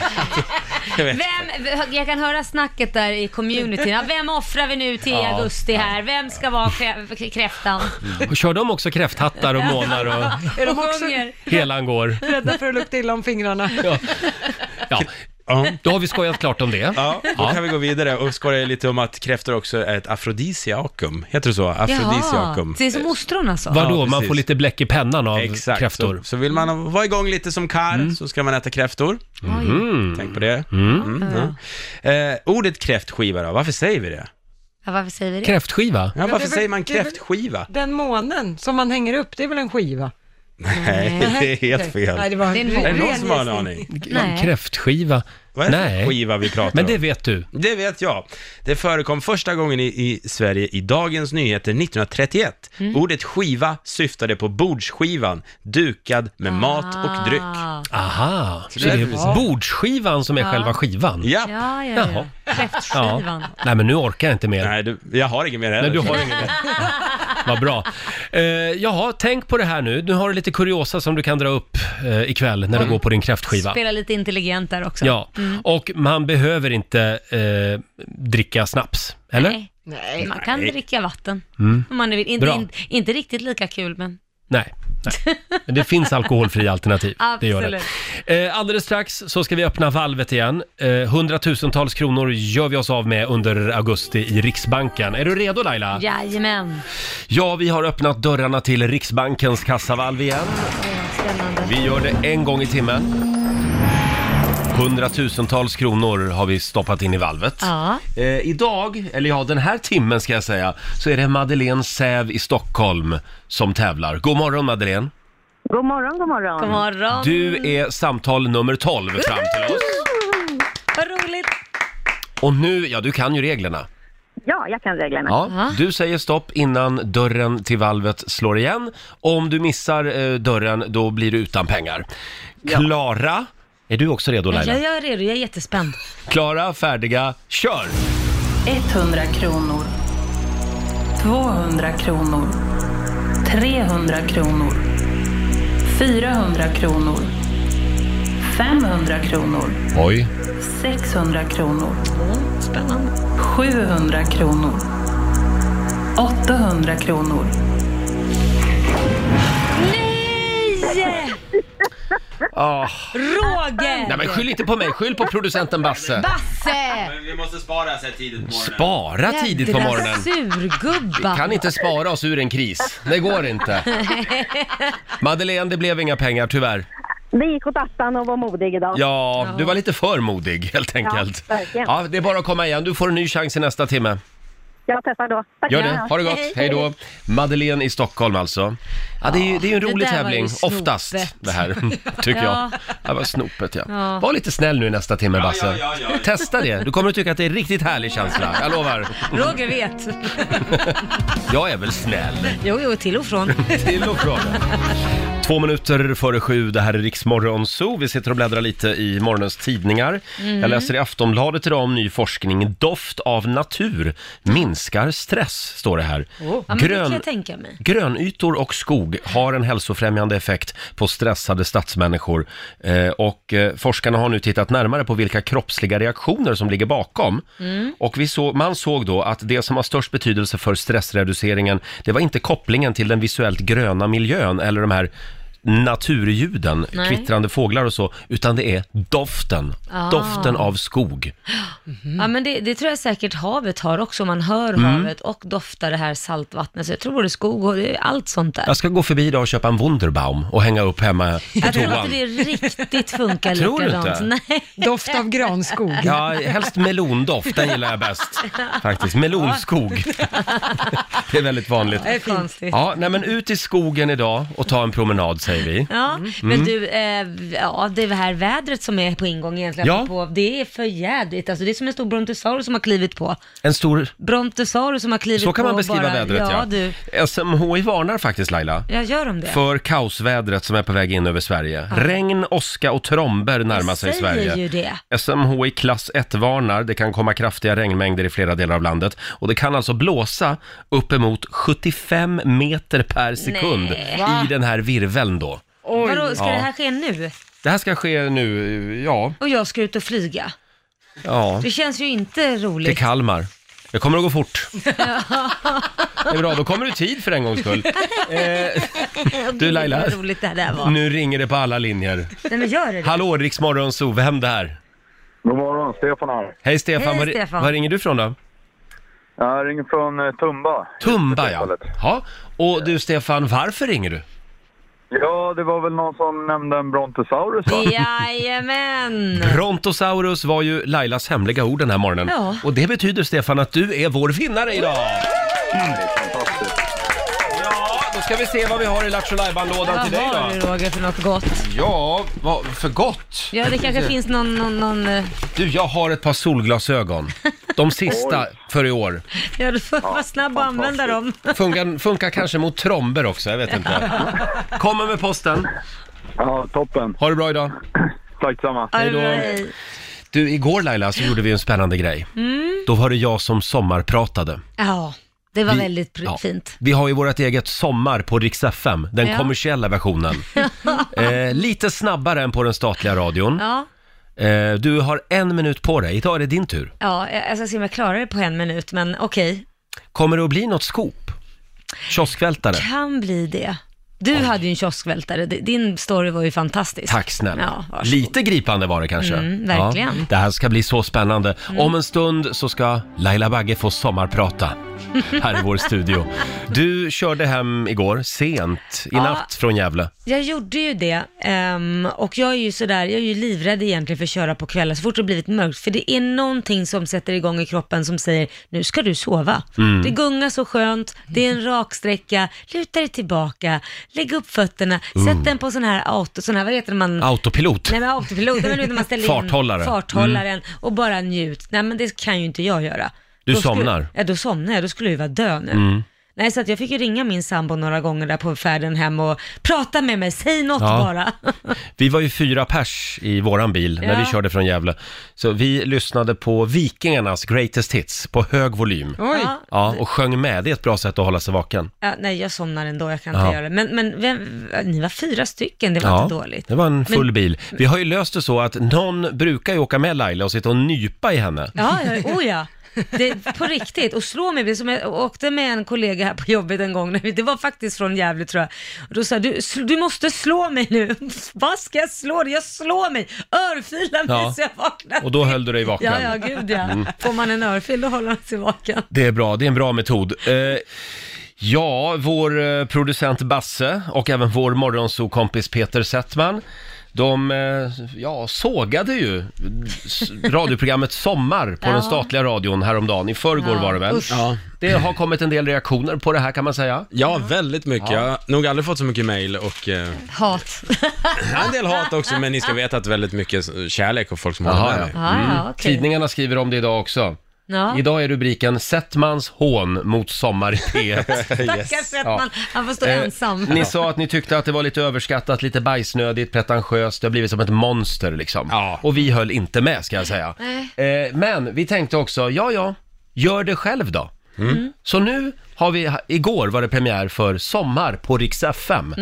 [SPEAKER 5] Jag vet.
[SPEAKER 2] Vem, jag kan höra snacket där i communityn. Ja, Vem offrar vi nu till i
[SPEAKER 1] Ja.
[SPEAKER 2] augusti här? Vem ska vara krä- kräftan?
[SPEAKER 1] Och Kör de också kräfthattar och månar och
[SPEAKER 3] Är de
[SPEAKER 2] Och
[SPEAKER 3] också
[SPEAKER 2] sjunger.
[SPEAKER 1] helan går?
[SPEAKER 3] rädda för att lukta illa om fingrarna?
[SPEAKER 1] Ja,
[SPEAKER 5] Ja.
[SPEAKER 1] då har vi skojat klart om det.
[SPEAKER 5] Ja, då kan vi gå vidare och skoja lite om att kräftor också är ett afrodisiakum. Heter det så? Afrodisiakum.
[SPEAKER 2] det är som ostron alltså.
[SPEAKER 1] Vadå,
[SPEAKER 5] Ja,
[SPEAKER 1] man
[SPEAKER 5] precis.
[SPEAKER 1] får lite bläck i pennan av
[SPEAKER 5] Exakt.
[SPEAKER 1] kräftor? Mm.
[SPEAKER 5] Så, så vill man vara igång lite som karl så ska man äta kräftor.
[SPEAKER 2] Oj.
[SPEAKER 1] Mhm.
[SPEAKER 5] Tänk på det. Mm, ja. eh, ordet kräftskiva då, varför säger vi det?
[SPEAKER 2] Ja, varför säger vi det?
[SPEAKER 1] Kräftskiva?
[SPEAKER 5] Ja, varför
[SPEAKER 3] väl-
[SPEAKER 5] säger man
[SPEAKER 3] det är väl-
[SPEAKER 5] kräftskiva?
[SPEAKER 3] Den månen som man hänger upp, det är väl en skiva?
[SPEAKER 5] Nej, det är helt fel.
[SPEAKER 3] Nej, det var
[SPEAKER 2] Det är en
[SPEAKER 3] en
[SPEAKER 2] måne.
[SPEAKER 5] Är det någon
[SPEAKER 3] ren
[SPEAKER 5] som har en
[SPEAKER 3] gissning.
[SPEAKER 5] aning?
[SPEAKER 2] Nej.
[SPEAKER 1] Kräftskiva?
[SPEAKER 5] Vad är det för
[SPEAKER 1] Nej,
[SPEAKER 5] skiva vi pratar
[SPEAKER 1] men det
[SPEAKER 5] om?
[SPEAKER 1] vet du.
[SPEAKER 5] Det vet jag. Det förekom första gången i, i Sverige i Dagens Nyheter 1931. Ordet skiva syftade på bordsskivan, dukad med mat och dryck.
[SPEAKER 2] Ah.
[SPEAKER 1] Aha, så det
[SPEAKER 5] det-
[SPEAKER 1] är bordsskivan som är själva skivan?
[SPEAKER 5] Ja.
[SPEAKER 2] Ja, ja,
[SPEAKER 1] Jaha.
[SPEAKER 2] ja. Kräftskivan.
[SPEAKER 1] Nej, men nu orkar jag inte mer.
[SPEAKER 5] Nej, du, jag har inget mer heller.
[SPEAKER 1] Nej, du har ingen Vad bra. Eh, jaha, tänk på det här nu. Du har lite kuriosa som du kan dra upp eh, ikväll
[SPEAKER 5] Mm.
[SPEAKER 1] när du går på din kräftskiva.
[SPEAKER 2] Spela Mm. lite intelligent där också.
[SPEAKER 1] Ja, och man behöver inte eh, dricka snaps, eller? Mm.
[SPEAKER 2] Nej.
[SPEAKER 3] Nej.
[SPEAKER 2] Man kan dricka vatten om man vill. Inte,
[SPEAKER 1] Bra.
[SPEAKER 2] in, inte riktigt lika kul, men
[SPEAKER 1] Nej. nej. Men det finns alkoholfria alternativ. Det gör
[SPEAKER 2] absolut.
[SPEAKER 1] det. Eh, alldeles strax så ska vi öppna valvet igen. Eh, hundratusentals kronor gör vi oss av med under augusti i Riksbanken. Är du redo Laila?
[SPEAKER 2] Jajamän.
[SPEAKER 1] Ja, vi har öppnat dörrarna till Riksbankens kassavalv igen.
[SPEAKER 2] Spännande.
[SPEAKER 1] Vi gör det en gång i timmen. Hundratusentals kronor har vi stoppat in i valvet.
[SPEAKER 2] Ja.
[SPEAKER 1] Eh, idag, eller ja den här timmen ska jag säga, så är det Madeleine Säv i Stockholm som tävlar. God morgon Madeleine!
[SPEAKER 6] God morgon, god morgon.
[SPEAKER 2] God morgon.
[SPEAKER 1] Du är samtal nummer 12 fram till oss.
[SPEAKER 2] Vad roligt.
[SPEAKER 1] Och nu, ja du kan ju reglerna.
[SPEAKER 6] Ja, jag kan reglerna.
[SPEAKER 1] Ja, du säger stopp innan dörren till valvet slår igen. Om du missar eh, dörren, då blir du utan pengar. Klara, är du också redo
[SPEAKER 2] Jag
[SPEAKER 1] Laila?
[SPEAKER 2] är redo, jag är jättespänd.
[SPEAKER 1] Klara, färdiga, kör!
[SPEAKER 7] 100 kronor. 200 kronor. 300 kronor. 400 kronor. 500 kronor.
[SPEAKER 1] Oj.
[SPEAKER 7] 600 kronor. Spännande. 700 kronor. 800 kronor.
[SPEAKER 2] Nej!
[SPEAKER 1] Ah.
[SPEAKER 2] Roger!
[SPEAKER 1] Nej men skyll inte på mig, skyll på producenten Basse.
[SPEAKER 2] Basse!
[SPEAKER 5] Men vi måste spara så här tidigt på morgonen.
[SPEAKER 1] Spara tidigt på
[SPEAKER 2] Jädra
[SPEAKER 1] morgonen.
[SPEAKER 2] surgubba.
[SPEAKER 1] Kan inte spara oss ur en kris. Det går inte. Madeleine, det blev inga pengar tyvärr.
[SPEAKER 6] Det gick åt attan och var modig idag.
[SPEAKER 1] Ja, du var lite för modig helt enkelt.
[SPEAKER 6] verkligen.
[SPEAKER 1] Ja, det är bara att komma igen. Du får en ny chans i nästa timme.
[SPEAKER 6] Jag testar då. Tack.
[SPEAKER 1] Gör det. Ha det gott. Hej då. Madeleine i Stockholm alltså. Ja, det är ju, det är ju en
[SPEAKER 2] Ja, det
[SPEAKER 1] rolig
[SPEAKER 2] där var ju
[SPEAKER 1] tävling.
[SPEAKER 2] snopet.
[SPEAKER 1] Oftast det här, tycker
[SPEAKER 2] Ja.
[SPEAKER 1] jag. Det var snopet ja.
[SPEAKER 2] Ja.
[SPEAKER 1] Var lite snäll nu i nästa timme Basse.
[SPEAKER 5] ja, ja, ja.
[SPEAKER 1] Testa det. Du kommer att tycka att det är en riktigt härlig känsla. Jag lovar.
[SPEAKER 2] Roger vet.
[SPEAKER 1] Jag är väl snäll.
[SPEAKER 2] Jo, jo, till och från.
[SPEAKER 1] Till och från. Två minuter före sju, det här är Riksmorgon Zoo. Vi sitter och bläddrar lite i morgonens
[SPEAKER 2] Mm.
[SPEAKER 1] tidningar. Jag läser i Aftonbladet idag om ny forskning. Doft av natur minskar stress, står det här.
[SPEAKER 2] Ja, men det kan jag tänka mig.
[SPEAKER 1] Grönytor och skog har en hälsofrämjande effekt på stressade stadsmänniskor. Eh, och eh, forskarna har nu tittat närmare på vilka kroppsliga reaktioner som ligger bakom.
[SPEAKER 2] Mm.
[SPEAKER 1] Och vi så, man såg då att det som har störst betydelse för stressreduceringen, det var inte kopplingen till den visuellt gröna miljön eller de här naturljuden,
[SPEAKER 2] Nej.
[SPEAKER 1] kvittrande fåglar och så, utan det är doften.
[SPEAKER 2] Ah.
[SPEAKER 1] Doften av skog.
[SPEAKER 2] Ja, men det, det tror jag säkert havet har också. Man hör
[SPEAKER 1] Mm.
[SPEAKER 2] havet och doftar det här saltvattnet. Så jag tror både skog och det är allt sånt där.
[SPEAKER 1] Jag ska gå förbi idag och köpa en Wunderbaum och hänga upp hemma på
[SPEAKER 2] Jag tror
[SPEAKER 1] toan.
[SPEAKER 2] inte det riktigt funkar
[SPEAKER 1] Tror du
[SPEAKER 2] likadant.
[SPEAKER 1] inte?
[SPEAKER 2] Nej.
[SPEAKER 3] Doft av granskog.
[SPEAKER 1] Ja, helst melondoft, den gillar jag bäst. Faktiskt, melonskog. Det är väldigt vanligt.
[SPEAKER 2] Det är konstigt.
[SPEAKER 1] Ja, nej men ut i skogen idag och ta en promenad säger vi.
[SPEAKER 2] Ja, men
[SPEAKER 1] Mm.
[SPEAKER 2] du, eh, ja, det är det här vädret som är på ingång egentligen.
[SPEAKER 1] Ja.
[SPEAKER 2] På, det är för jädrigt. Alltså, det är som en stor brontosaurus som har klivit på.
[SPEAKER 1] En stor...
[SPEAKER 2] Brontosaurus som har klivit på.
[SPEAKER 1] Så kan man
[SPEAKER 2] och
[SPEAKER 1] beskriva
[SPEAKER 2] bara,
[SPEAKER 1] vädret ja.
[SPEAKER 2] Ja, du.
[SPEAKER 1] SMHI varnar faktiskt Laila.
[SPEAKER 2] Jag gör om det.
[SPEAKER 1] För kaosvädret som är på väg in över Sverige. Regn, åska och tromber närmar
[SPEAKER 2] Jag
[SPEAKER 1] sig
[SPEAKER 2] säger
[SPEAKER 1] Sverige.
[SPEAKER 2] ju det.
[SPEAKER 1] SMHI klass 1 varnar. Det kan komma kraftiga regnmängder i flera delar av landet. Och det kan alltså blåsa uppemot 75 meter per sekund
[SPEAKER 2] Nej.
[SPEAKER 1] i den här virveln då.
[SPEAKER 2] Vadå, ska
[SPEAKER 1] Ja.
[SPEAKER 2] det här ske nu?
[SPEAKER 1] Det här ska ske nu, ja,
[SPEAKER 2] Och jag ska ut och flyga?
[SPEAKER 1] ja,
[SPEAKER 2] Det känns ju inte
[SPEAKER 1] till
[SPEAKER 2] roligt.
[SPEAKER 1] Kalmar. Det kommer att gå fort. Det är bra, då kommer du i tid för en gångs skull. Eh, Du, Laila.
[SPEAKER 2] Vad roligt det här där var.
[SPEAKER 1] Nu ringer det på alla linjer.
[SPEAKER 2] Nej men gör det.
[SPEAKER 1] Hallå, Riksmorgon Zoo, vem där?
[SPEAKER 8] God morgon, Stefan här.
[SPEAKER 1] Hej Stefan,
[SPEAKER 2] Hej,
[SPEAKER 1] var,
[SPEAKER 2] Stefan.
[SPEAKER 1] var ringer du från då?
[SPEAKER 8] Jag ringer från eh, Tumba.
[SPEAKER 1] Tumba ja.
[SPEAKER 8] Fallet.
[SPEAKER 1] ja. Och du Stefan, varför ringer du?
[SPEAKER 8] Ja, det var väl någon som nämnde en brontosaurus va?
[SPEAKER 2] Jajamän!
[SPEAKER 1] Brontosaurus var ju Lailas hemliga ord den här morgonen.
[SPEAKER 2] Ja.
[SPEAKER 1] Och det betyder Stefan att du är vår vinnare idag! Mm.
[SPEAKER 8] Fantastiskt.
[SPEAKER 1] Ja, då ska vi se vad vi har i Lattjo lådan
[SPEAKER 2] Vad
[SPEAKER 1] till dig
[SPEAKER 2] har du
[SPEAKER 1] då.
[SPEAKER 2] Roger för något gott?
[SPEAKER 1] Ja, vad, för gott!
[SPEAKER 2] Ja, det kanske finns någon, någon, någon... eh,
[SPEAKER 1] Du, jag har ett par solglasögon. De sista för i år.
[SPEAKER 2] Ja, du får vara snabb och använda dem.
[SPEAKER 1] Funkar, funkar kanske mot tromber också, jag vet inte. Kommer med posten.
[SPEAKER 8] Ja, toppen.
[SPEAKER 1] Ha det bra idag.
[SPEAKER 8] Tack samma.
[SPEAKER 2] Ja, det är
[SPEAKER 1] då.
[SPEAKER 2] bra, hej.
[SPEAKER 1] Du, igår Laila så gjorde vi en spännande grej.
[SPEAKER 2] Mm.
[SPEAKER 1] Då var det jag som sommarpratade.
[SPEAKER 2] Ja, det var
[SPEAKER 1] Vi-
[SPEAKER 2] väldigt pr-
[SPEAKER 1] ja.
[SPEAKER 2] fint.
[SPEAKER 1] Vi har ju vårt eget Sommar på Rix FM, den
[SPEAKER 2] Ja.
[SPEAKER 1] kommersiella versionen. eh, lite snabbare än på den statliga radion.
[SPEAKER 2] Ja,
[SPEAKER 1] Eh, du har en minut på dig, idag är det din tur.
[SPEAKER 2] ja, jag jag ska se om jag klarar det på en minut, men okej.
[SPEAKER 1] Kommer det att bli något scoop? Kioskvältare?
[SPEAKER 2] Kan bli det. Du hade ju en kioskvältare, D- din story var ju fantastisk.
[SPEAKER 1] Tack snälla.
[SPEAKER 2] Ja, varsågod.
[SPEAKER 1] Lite gripande var det kanske.
[SPEAKER 2] Mm, verkligen. Mm.
[SPEAKER 1] Ja, det här ska bli så spännande. Om en stund så ska Laila Bagge få sommarprata här i vår studio. Du körde hem igår, sent, i
[SPEAKER 2] Ja.
[SPEAKER 1] natt från Gävle.
[SPEAKER 2] Jag gjorde ju det ehm, och jag är ju sådär, jag är ju livrädd egentligen för att köra på kvällen så fort det har blivit mörkt. För det är någonting som sätter igång i kroppen som säger, nu ska du sova. Det gungar så skönt, det är en raksträcka, luta dig tillbaka, lägg upp fötterna, sätt den på sån här auto, sån här, vad heter det man?
[SPEAKER 1] Autopilot.
[SPEAKER 2] Nej men autopilot, nej, men nu när man ställer
[SPEAKER 1] Farthållare. Mm.
[SPEAKER 2] in farthållaren och bara njut. Nej men det kan ju inte jag göra.
[SPEAKER 1] Du
[SPEAKER 2] skulle,
[SPEAKER 1] somnar. Mm.
[SPEAKER 2] Ja då somnar jag, då skulle jag ju vara död nu. Nej så att jag fick ju ringa min sambo några gånger där på färden hem och prata med mig, säg något
[SPEAKER 1] Ja.
[SPEAKER 2] bara.
[SPEAKER 1] Vi var ju fyra pers i våran bil när
[SPEAKER 2] Ja.
[SPEAKER 1] vi körde från Gävle. Så vi lyssnade på Vikingarnas Greatest Hits på hög volym.
[SPEAKER 3] Oj.
[SPEAKER 2] Ja.
[SPEAKER 1] Ja, och sjöng med. Det är ett bra sätt att hålla sig vaken.
[SPEAKER 2] Ja, nej jag somnar ändå, jag kan inte
[SPEAKER 1] Ja.
[SPEAKER 2] göra det. Men, men vem, ni var fyra stycken, det var
[SPEAKER 1] ja,
[SPEAKER 2] inte dåligt.
[SPEAKER 1] det var en full
[SPEAKER 2] Men-
[SPEAKER 1] bil. Vi har ju löst det så att någon brukar ju åka med Laila och sitta och nypa i henne.
[SPEAKER 2] Ja, ja, oh ja. Det, på riktigt, och slå mig, det är som jag åkte med en kollega här på jobbet en gång, när vi- det var faktiskt från Gävle tror jag, och då sa jag, du, sl- du måste slå mig nu, vad ska jag slå dig? Jag slår mig, örfila mig
[SPEAKER 1] Ja.
[SPEAKER 2] så jag vaknar.
[SPEAKER 1] Och då höll du dig vaken. Mm.
[SPEAKER 2] Ja, ja, gud ja. Får man en örfil då håller man sig vaken.
[SPEAKER 1] Det är bra, det är en bra metod. Eh, ja, vår eh, producent Basse och även vår morgonsokompis Peter Settman, de eh, ja, sågade ju s- radioprogrammet Sommar på
[SPEAKER 2] Ja.
[SPEAKER 1] den statliga radion häromdagen. I förrgår
[SPEAKER 2] Ja,
[SPEAKER 1] var det väl?
[SPEAKER 2] usch.
[SPEAKER 5] Ja.
[SPEAKER 1] Det har kommit en del reaktioner på det här kan man säga.
[SPEAKER 5] Ja, väldigt mycket. Jag har nog aldrig fått så mycket mejl och eh,
[SPEAKER 2] Hat.
[SPEAKER 5] en del hat också, men ni ska veta att väldigt mycket eh, kärlek och folk som
[SPEAKER 1] Jaha,
[SPEAKER 5] håller med
[SPEAKER 1] ja.
[SPEAKER 5] mig.
[SPEAKER 2] Ja,
[SPEAKER 1] Mm.
[SPEAKER 2] ja, okej.
[SPEAKER 1] Tidningarna skriver om det idag också.
[SPEAKER 2] Ja.
[SPEAKER 1] Idag är rubriken Settmans hån mot Sommar i P1.
[SPEAKER 2] Stackars Svettman, han får stå
[SPEAKER 1] Eh,
[SPEAKER 2] ensam.
[SPEAKER 1] Ni sa att ni tyckte att det var lite överskattat, lite bajsnödigt, pretentiöst, det har blivit som ett monster liksom.
[SPEAKER 5] Ja.
[SPEAKER 1] Och vi höll inte med ska jag säga. Eh, men vi tänkte också, ja ja, gör det själv då. Så nu har vi, igår var det premiär för Sommar på Rix FM.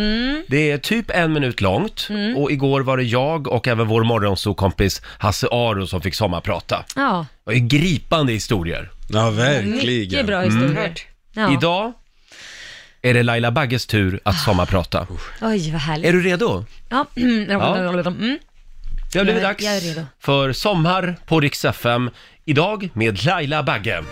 [SPEAKER 1] Det är typ en minut långt och igår var det jag och även vår morgonsokompis Hasse Aro som fick sommarprata.
[SPEAKER 2] Ja,
[SPEAKER 1] Det var ju gripande historier.
[SPEAKER 5] Ja,
[SPEAKER 2] mycket bra historier. Ja.
[SPEAKER 1] Mm. Idag är det Laila Bagges tur att sommarprata.
[SPEAKER 2] Oj, vad härligt.
[SPEAKER 1] Är du redo?
[SPEAKER 2] Ja. Mm.
[SPEAKER 1] Det har blivit
[SPEAKER 2] Jag är-
[SPEAKER 1] dags
[SPEAKER 2] jag är redo.
[SPEAKER 1] för Sommar på Rix FM. Idag med Laila Bagge.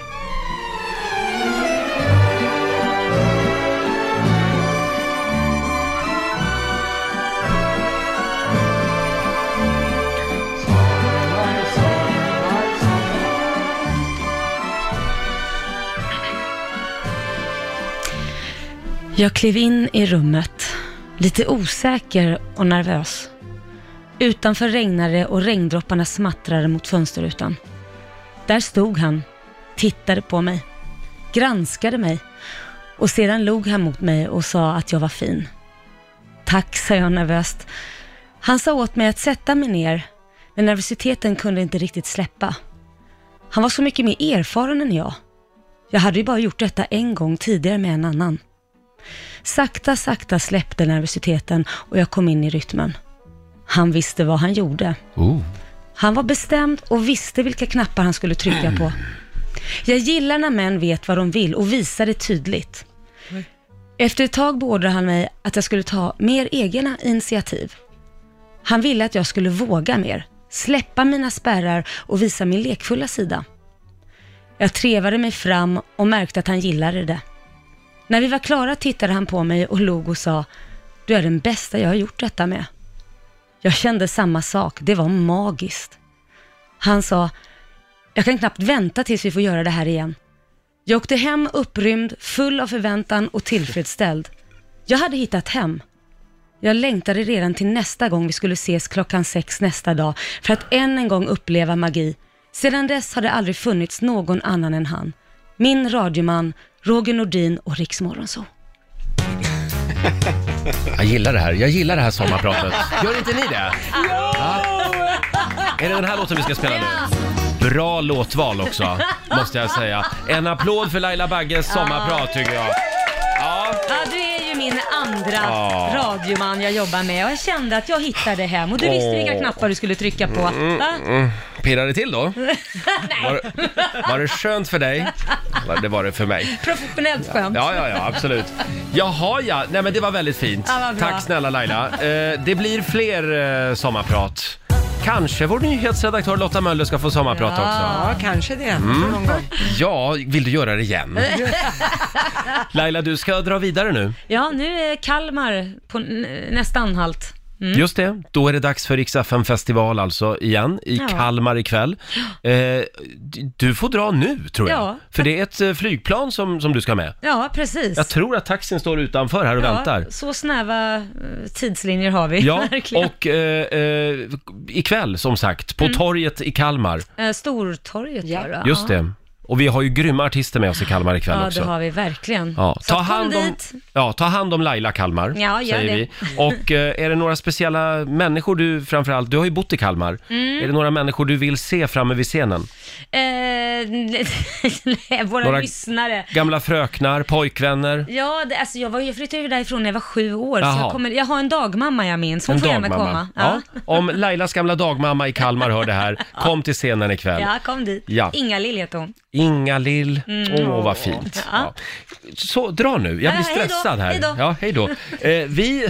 [SPEAKER 2] Jag klev in i rummet, lite osäker och nervös. Utanför regnade det och regndropparna smattrade mot fönsterrutan. Där stod han, tittade på mig, granskade mig och sedan log han mot mig och sa att jag var fin. Tack, sa jag nervöst. Han sa åt mig att sätta mig ner, men nervositeten kunde inte riktigt släppa. Han var så mycket mer erfaren än jag. Jag hade ju bara gjort detta en gång tidigare med en annan. Sakta, sakta släppte nervositeten och jag kom in i rytmen. Han visste vad han gjorde. Han var bestämd och visste vilka knappar han skulle trycka på. Jag gillar när män vet vad de vill och visar det tydligt. Efter ett tag beordrade han mig att jag skulle ta mer egna initiativ. Han ville att jag skulle våga mer, släppa mina spärrar och visa min lekfulla sida. Jag trevade mig fram och märkte att han gillade det. När vi var klara tittade han på mig och log och sa, du är den bästa jag har gjort detta med. Jag kände samma sak, det var magiskt. Han sa, jag kan knappt vänta tills vi får göra det här igen. Jag åkte hem upprymd, full av förväntan och tillfredsställd. Jag hade hittat hem. Jag längtade redan till nästa gång vi skulle ses klockan sex nästa dag för att än en gång uppleva magi. Sedan dess har det aldrig funnits någon annan än han. Min radioman, Roger Nordin och Rix Morgonzoo.
[SPEAKER 1] Jag gillar det här. Jag gillar det här sommarpratet. Gör inte ni det? Ja. Är det den här låten vi ska spela nu? Bra låtval också, måste jag säga. En applåd för Laila Bagges sommarprat tycker jag. Ja.
[SPEAKER 2] Ja, du är ju min andra
[SPEAKER 1] Ja.
[SPEAKER 2] radioman jag jobbar med och jag kände att jag hittade hem och du visste
[SPEAKER 1] Åh. Mm,
[SPEAKER 2] vilka knappar du skulle trycka på. Va?
[SPEAKER 1] Pirrar det till då? Var, var det skönt för dig? Ja, Det var det för mig.
[SPEAKER 2] Professionellt skönt.
[SPEAKER 1] Ja, ja, ja, absolut. Jaha, ja. Nej, men det var väldigt fint.
[SPEAKER 2] Ja, vad bra.
[SPEAKER 1] Tack snälla Laila. Eh, det blir fler eh, sommarprat. Kanske vår nyhetsredaktör Lotta Möller ska få sommarprat också.
[SPEAKER 3] Ja, kanske det. Någon gång.
[SPEAKER 1] Ja, vill du göra det igen? Laila, du ska dra vidare nu.
[SPEAKER 2] Ja, nu är Kalmar på n- nästa anhalt.
[SPEAKER 1] Just det, då är det dags för Rix FM festival alltså igen i
[SPEAKER 2] Ja.
[SPEAKER 1] Kalmar ikväll. Eh, d- du får dra nu tror jag,
[SPEAKER 2] Ja.
[SPEAKER 1] för det är ett eh, flygplan som, som du ska med.
[SPEAKER 2] Ja, precis.
[SPEAKER 1] Jag tror att taxin står utanför här och väntar.
[SPEAKER 2] Ja, så snäva eh, tidslinjer har vi.
[SPEAKER 1] Ja,
[SPEAKER 2] verkligen. Mm.
[SPEAKER 1] och eh, eh, ikväll som sagt, på torget i Kalmar.
[SPEAKER 2] Eh, Stortorget
[SPEAKER 3] Ja.
[SPEAKER 2] var det, va?
[SPEAKER 1] Just det. Och vi har ju grymma artister med oss i Kalmar ikväll
[SPEAKER 2] Ja,
[SPEAKER 1] också.
[SPEAKER 2] det har vi verkligen.
[SPEAKER 1] Ja,
[SPEAKER 2] Så
[SPEAKER 1] ta
[SPEAKER 2] kom
[SPEAKER 1] hand om,
[SPEAKER 2] dit.
[SPEAKER 1] ja, ta hand om Laila Kalmar,
[SPEAKER 2] Ja, gör
[SPEAKER 1] säger
[SPEAKER 2] det.
[SPEAKER 1] vi. Och eh, är det några speciella människor du framförallt, du har ju bott i Kalmar,
[SPEAKER 2] Mm.
[SPEAKER 1] är det några människor du vill se framme vid scenen?
[SPEAKER 2] Eh, nej, våra
[SPEAKER 1] Några-
[SPEAKER 2] lyssnare.
[SPEAKER 1] Gamla fröknar, pojkvänner?
[SPEAKER 2] Ja, det, alltså jag, var, jag flyttade ju därifrån när jag var sju år, så
[SPEAKER 1] Jaha.
[SPEAKER 2] jag, kommer, jag har en dagmamma jag minns. Hon får gärna komma.
[SPEAKER 1] Ja. Om Lailas gamla dagmamma i Kalmar hör det här, kom till scenen ikväll.
[SPEAKER 2] Ja, kom dit.
[SPEAKER 1] Ja.
[SPEAKER 2] Inga-Lill heter hon.
[SPEAKER 1] Inga Lill, åh vad fint. Ja.
[SPEAKER 2] Ja.
[SPEAKER 1] Så, dra nu, jag
[SPEAKER 2] Ja,
[SPEAKER 1] blir
[SPEAKER 2] hej då,
[SPEAKER 1] stressad här.
[SPEAKER 2] hej då.
[SPEAKER 1] Ja, hej då. Eh, vi,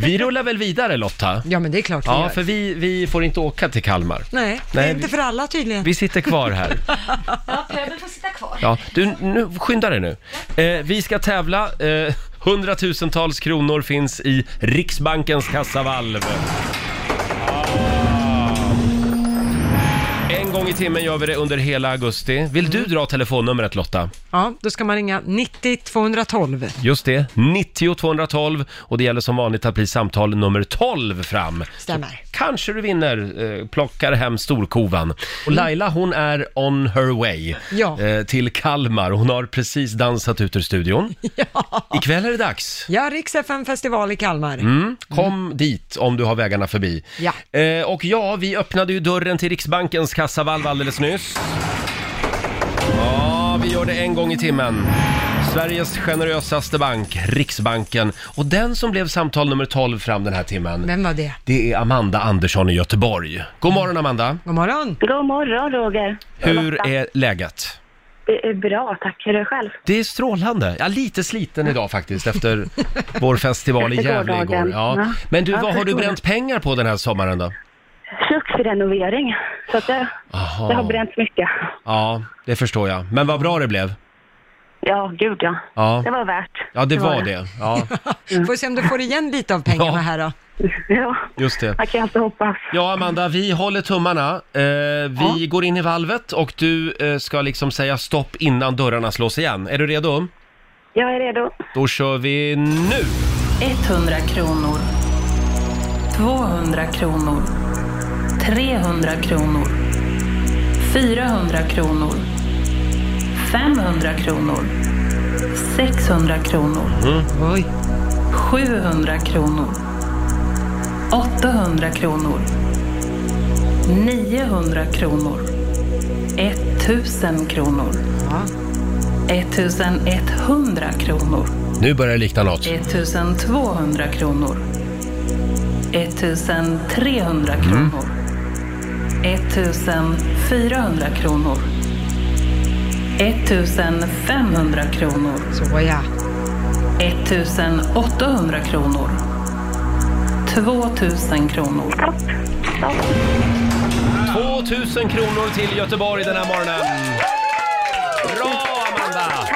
[SPEAKER 1] vi rullar väl vidare Lotta?
[SPEAKER 3] Ja, men det är klart vi
[SPEAKER 1] Ja,
[SPEAKER 3] gör.
[SPEAKER 1] för vi, vi får inte åka till Kalmar.
[SPEAKER 3] Nej, det
[SPEAKER 1] Nej,
[SPEAKER 3] är inte
[SPEAKER 1] vi-
[SPEAKER 3] för alla tydligen.
[SPEAKER 1] Vi sitter kvar här.
[SPEAKER 2] Ja, pöbeln får sitta kvar.
[SPEAKER 1] Ja, du, nu, skynda dig nu. Eh, vi ska tävla. Eh, hundratusentals kronor finns i Riksbankens kassavalv. En gång i timmen gör vi det under hela augusti. Vill du dra telefonnumret Lotta?
[SPEAKER 3] Ja, då ska man ringa 90 212.
[SPEAKER 1] Just det, 90 212 och det gäller som vanligt att bli samtal nummer 12 fram.
[SPEAKER 3] Stämmer.
[SPEAKER 1] Kanske du vinner, eh, plockar hem storkovan. Och Laila hon är on her way
[SPEAKER 3] Mm. Ja.
[SPEAKER 1] eh, till Kalmar. Hon har precis dansat ut ur studion.
[SPEAKER 3] Ja,
[SPEAKER 1] Ikväll är det dags.
[SPEAKER 3] ja Rix FM festival i Kalmar.
[SPEAKER 1] Mm. Kom dit om du har vägarna förbi.
[SPEAKER 3] Ja.
[SPEAKER 1] Eh, och ja, vi öppnade ju dörren till Riksbankens kassavalv alldeles nyss. Ja, Ja, vi gör det en gång i timmen. Sveriges generösaste bank, Riksbanken. Och den som blev samtal nummer 12 fram den här timmen,
[SPEAKER 3] Vem var det?
[SPEAKER 1] det är Amanda Andersson i Göteborg. God morgon Amanda!
[SPEAKER 3] God morgon.
[SPEAKER 6] God morgon, Roger.
[SPEAKER 1] Hur är läget?
[SPEAKER 6] Det är bra, tack. Hur är det själv?
[SPEAKER 1] Det är strålande. Jag är lite sliten idag faktiskt efter vår festival i
[SPEAKER 6] Efter
[SPEAKER 1] Gävle
[SPEAKER 6] gårdagen.
[SPEAKER 1] igår. Ja.
[SPEAKER 6] Ja.
[SPEAKER 1] Men du,
[SPEAKER 6] Ja,
[SPEAKER 1] vad har du
[SPEAKER 6] förstår.
[SPEAKER 1] bränt pengar på den här sommaren då?
[SPEAKER 6] Köksrenovering. Så att det,
[SPEAKER 1] Aha.
[SPEAKER 6] det har bränts mycket.
[SPEAKER 1] Ja, det förstår jag. Men vad bra det blev.
[SPEAKER 6] Ja, gud ja.
[SPEAKER 1] Ja,
[SPEAKER 6] Det var värt.
[SPEAKER 1] ja det var det. Ja,
[SPEAKER 3] Får se om du får igen lite av pengarna
[SPEAKER 1] Ja.
[SPEAKER 3] här då.
[SPEAKER 6] Ja,
[SPEAKER 1] just det.
[SPEAKER 6] man kan alltid hoppas.
[SPEAKER 1] Ja, Amanda, vi håller tummarna. Eh, vi går in i valvet och du eh, ska liksom säga stopp innan dörrarna slås igen. Är du redo?
[SPEAKER 6] Jag är redo.
[SPEAKER 1] Då kör vi nu!
[SPEAKER 7] 100 kronor. 200 kronor. 300 kronor. 400 kronor. 500 kronor. 600 kronor.
[SPEAKER 3] Oj.
[SPEAKER 7] 700 kronor. 800 kronor. 900 kronor. 1000 kronor. 1100 kronor.
[SPEAKER 1] Nu börjar det likna något.
[SPEAKER 7] 1200 kronor. 1300 kronor. 1400 kronor. 1500 kronor.
[SPEAKER 3] Så ja.
[SPEAKER 7] 1800 kronor. 2000 kronor.
[SPEAKER 1] 2000 kronor till Göteborg den här morgonen. Bra Amanda!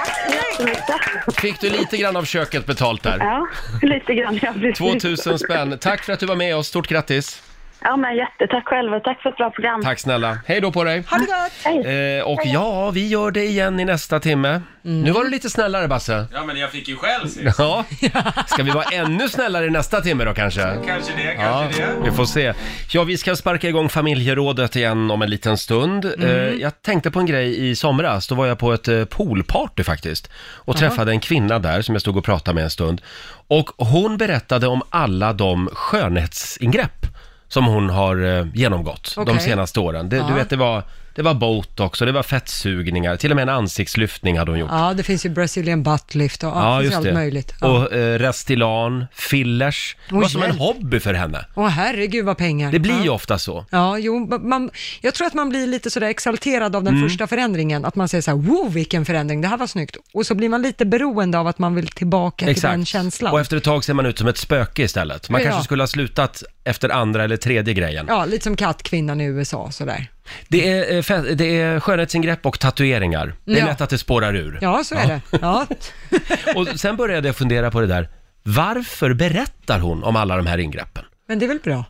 [SPEAKER 1] Fick du lite grann av köket betalt där?
[SPEAKER 6] Ja, lite grann. Ja, precis.
[SPEAKER 1] 2000 spänn. Tack för att du var med oss. Stort grattis.
[SPEAKER 6] Ja, men jättetack själv och tack för ett bra program.
[SPEAKER 1] Tack snälla. Hej då på dig.
[SPEAKER 3] Ha det gott!
[SPEAKER 1] Eh, och ja, vi gör det igen i nästa timme.
[SPEAKER 3] Mm.
[SPEAKER 1] Nu var du lite snällare Basse.
[SPEAKER 5] Ja, men jag fick ju själv sist.
[SPEAKER 1] Ja. Ska vi vara ännu snällare i nästa timme då kanske?
[SPEAKER 5] Kanske det,
[SPEAKER 1] Ja,
[SPEAKER 5] kanske det.
[SPEAKER 1] vi får se. Ja, vi ska sparka igång familjerådet igen om en liten stund. Eh, Jag tänkte på en grej i somras. Då var jag på ett eh, poolparty faktiskt och träffade en kvinna där som jag stod och pratade med en stund. Och hon berättade om alla de skönhetsingrepp som hon har eh, genomgått de
[SPEAKER 3] Okej.
[SPEAKER 1] senaste åren. Det, Du vet, det var, det var botox och det var fettsugningar, till och med en ansiktslyftning hade hon gjort.
[SPEAKER 3] Ja, det finns ju Brazilian buttlift och ja, det finns allt möjligt. Ja.
[SPEAKER 1] Och eh, Restylane, fillers. Det
[SPEAKER 3] Åh,
[SPEAKER 1] var som en
[SPEAKER 3] hjälp.
[SPEAKER 1] hobby för henne.
[SPEAKER 3] Åh herregud vad pengar.
[SPEAKER 1] Det blir
[SPEAKER 3] ja.
[SPEAKER 1] ju ofta så.
[SPEAKER 3] Ja, jo, man, jag tror att man blir lite sådär exalterad av den
[SPEAKER 1] Mm.
[SPEAKER 3] första förändringen, att man säger så här, wow vilken förändring, det här var snyggt. Och så blir man lite beroende av att man vill tillbaka till den känslan.
[SPEAKER 1] Och efter ett tag ser man ut som ett spöke istället. Man
[SPEAKER 3] Ja.
[SPEAKER 1] kanske skulle ha slutat efter andra eller tredje grejen.
[SPEAKER 3] Ja, lite som kattkvinnan i USA sådär.
[SPEAKER 1] Det, är, eh, fe- det är skönhetsingrepp och tatueringar. Det är
[SPEAKER 3] Ja.
[SPEAKER 1] lätt att det spårar ur.
[SPEAKER 3] Ja, så är det. Ja.
[SPEAKER 1] Och sen började jag fundera på det där. Varför berättar hon om alla de här ingreppen?
[SPEAKER 3] Men det är väl bra?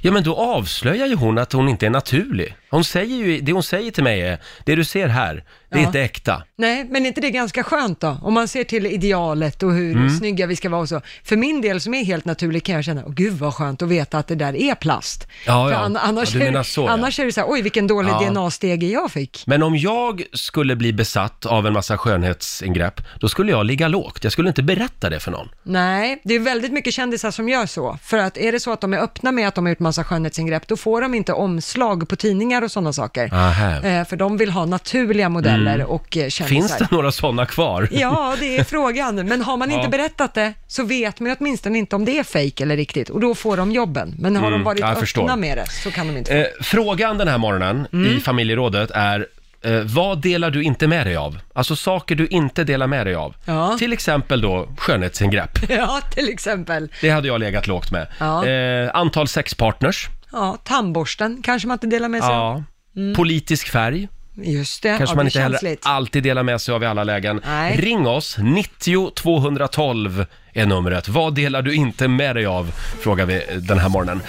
[SPEAKER 1] Ja, men då avslöjar ju hon att hon inte är naturlig. Hon säger ju, det hon säger till mig är, det du ser här, det är
[SPEAKER 3] Ja.
[SPEAKER 1] inte äkta.
[SPEAKER 3] Nej, men är inte det ganska skönt då? Om man ser till idealet och hur
[SPEAKER 1] Mm.
[SPEAKER 3] snygga vi ska vara och så. För min del som är helt naturlig kan jag känna, åh gud vad skönt att veta att det där är plast.
[SPEAKER 1] Ja,
[SPEAKER 3] För
[SPEAKER 1] ja.
[SPEAKER 3] an- annars,
[SPEAKER 1] Ja, du
[SPEAKER 3] är,
[SPEAKER 1] menar så, ja.
[SPEAKER 3] annars är det så här, oj vilken dålig
[SPEAKER 1] Ja.
[SPEAKER 3] DNA-stege jag fick.
[SPEAKER 1] Men om jag skulle bli besatt av en massa skönhetsingrepp, då skulle jag ligga lågt. Jag skulle inte berätta det för någon.
[SPEAKER 3] Nej, det är väldigt mycket kändisar som gör så. För att är det så att de är öppna med att de har gjort massa skönhetsingrepp, då får de inte omslag på tidningar och sådana saker.
[SPEAKER 1] Aha.
[SPEAKER 3] Eh, för de vill ha naturliga modeller och eh, kändisar.
[SPEAKER 1] Mm. Finns det några sådana kvar?
[SPEAKER 3] Ja, det är frågan. Men har man inte berättat det så vet man ju åtminstone inte om det är fejk eller riktigt och då får de jobben. Men har de varit
[SPEAKER 1] Mm, jag
[SPEAKER 3] öppna
[SPEAKER 1] förstår.
[SPEAKER 3] med det så kan de inte.
[SPEAKER 1] Eh, frågan den här morgonen
[SPEAKER 3] Mm.
[SPEAKER 1] i familjerådet är eh, vad delar du inte med dig av? Alltså saker du inte delar med dig av.
[SPEAKER 3] Ja.
[SPEAKER 1] Till exempel då skönhetsingrepp.
[SPEAKER 3] Ja, till exempel.
[SPEAKER 1] Det hade jag legat lågt med.
[SPEAKER 3] Ja.
[SPEAKER 1] Eh, antal sexpartners.
[SPEAKER 3] Ja, tandborsten kanske man inte delar med sig av.
[SPEAKER 1] Ja. Politisk färg.
[SPEAKER 3] Just det,
[SPEAKER 1] Kanske
[SPEAKER 3] ja,
[SPEAKER 1] man
[SPEAKER 3] det är
[SPEAKER 1] inte heller Ah.
[SPEAKER 3] känsligt.
[SPEAKER 1] alltid delar med sig av i alla lägen.
[SPEAKER 3] Nej.
[SPEAKER 1] Ring oss, 90 212 är numret. Vad delar du inte med dig av? Frågar vi eh, den här morgonen.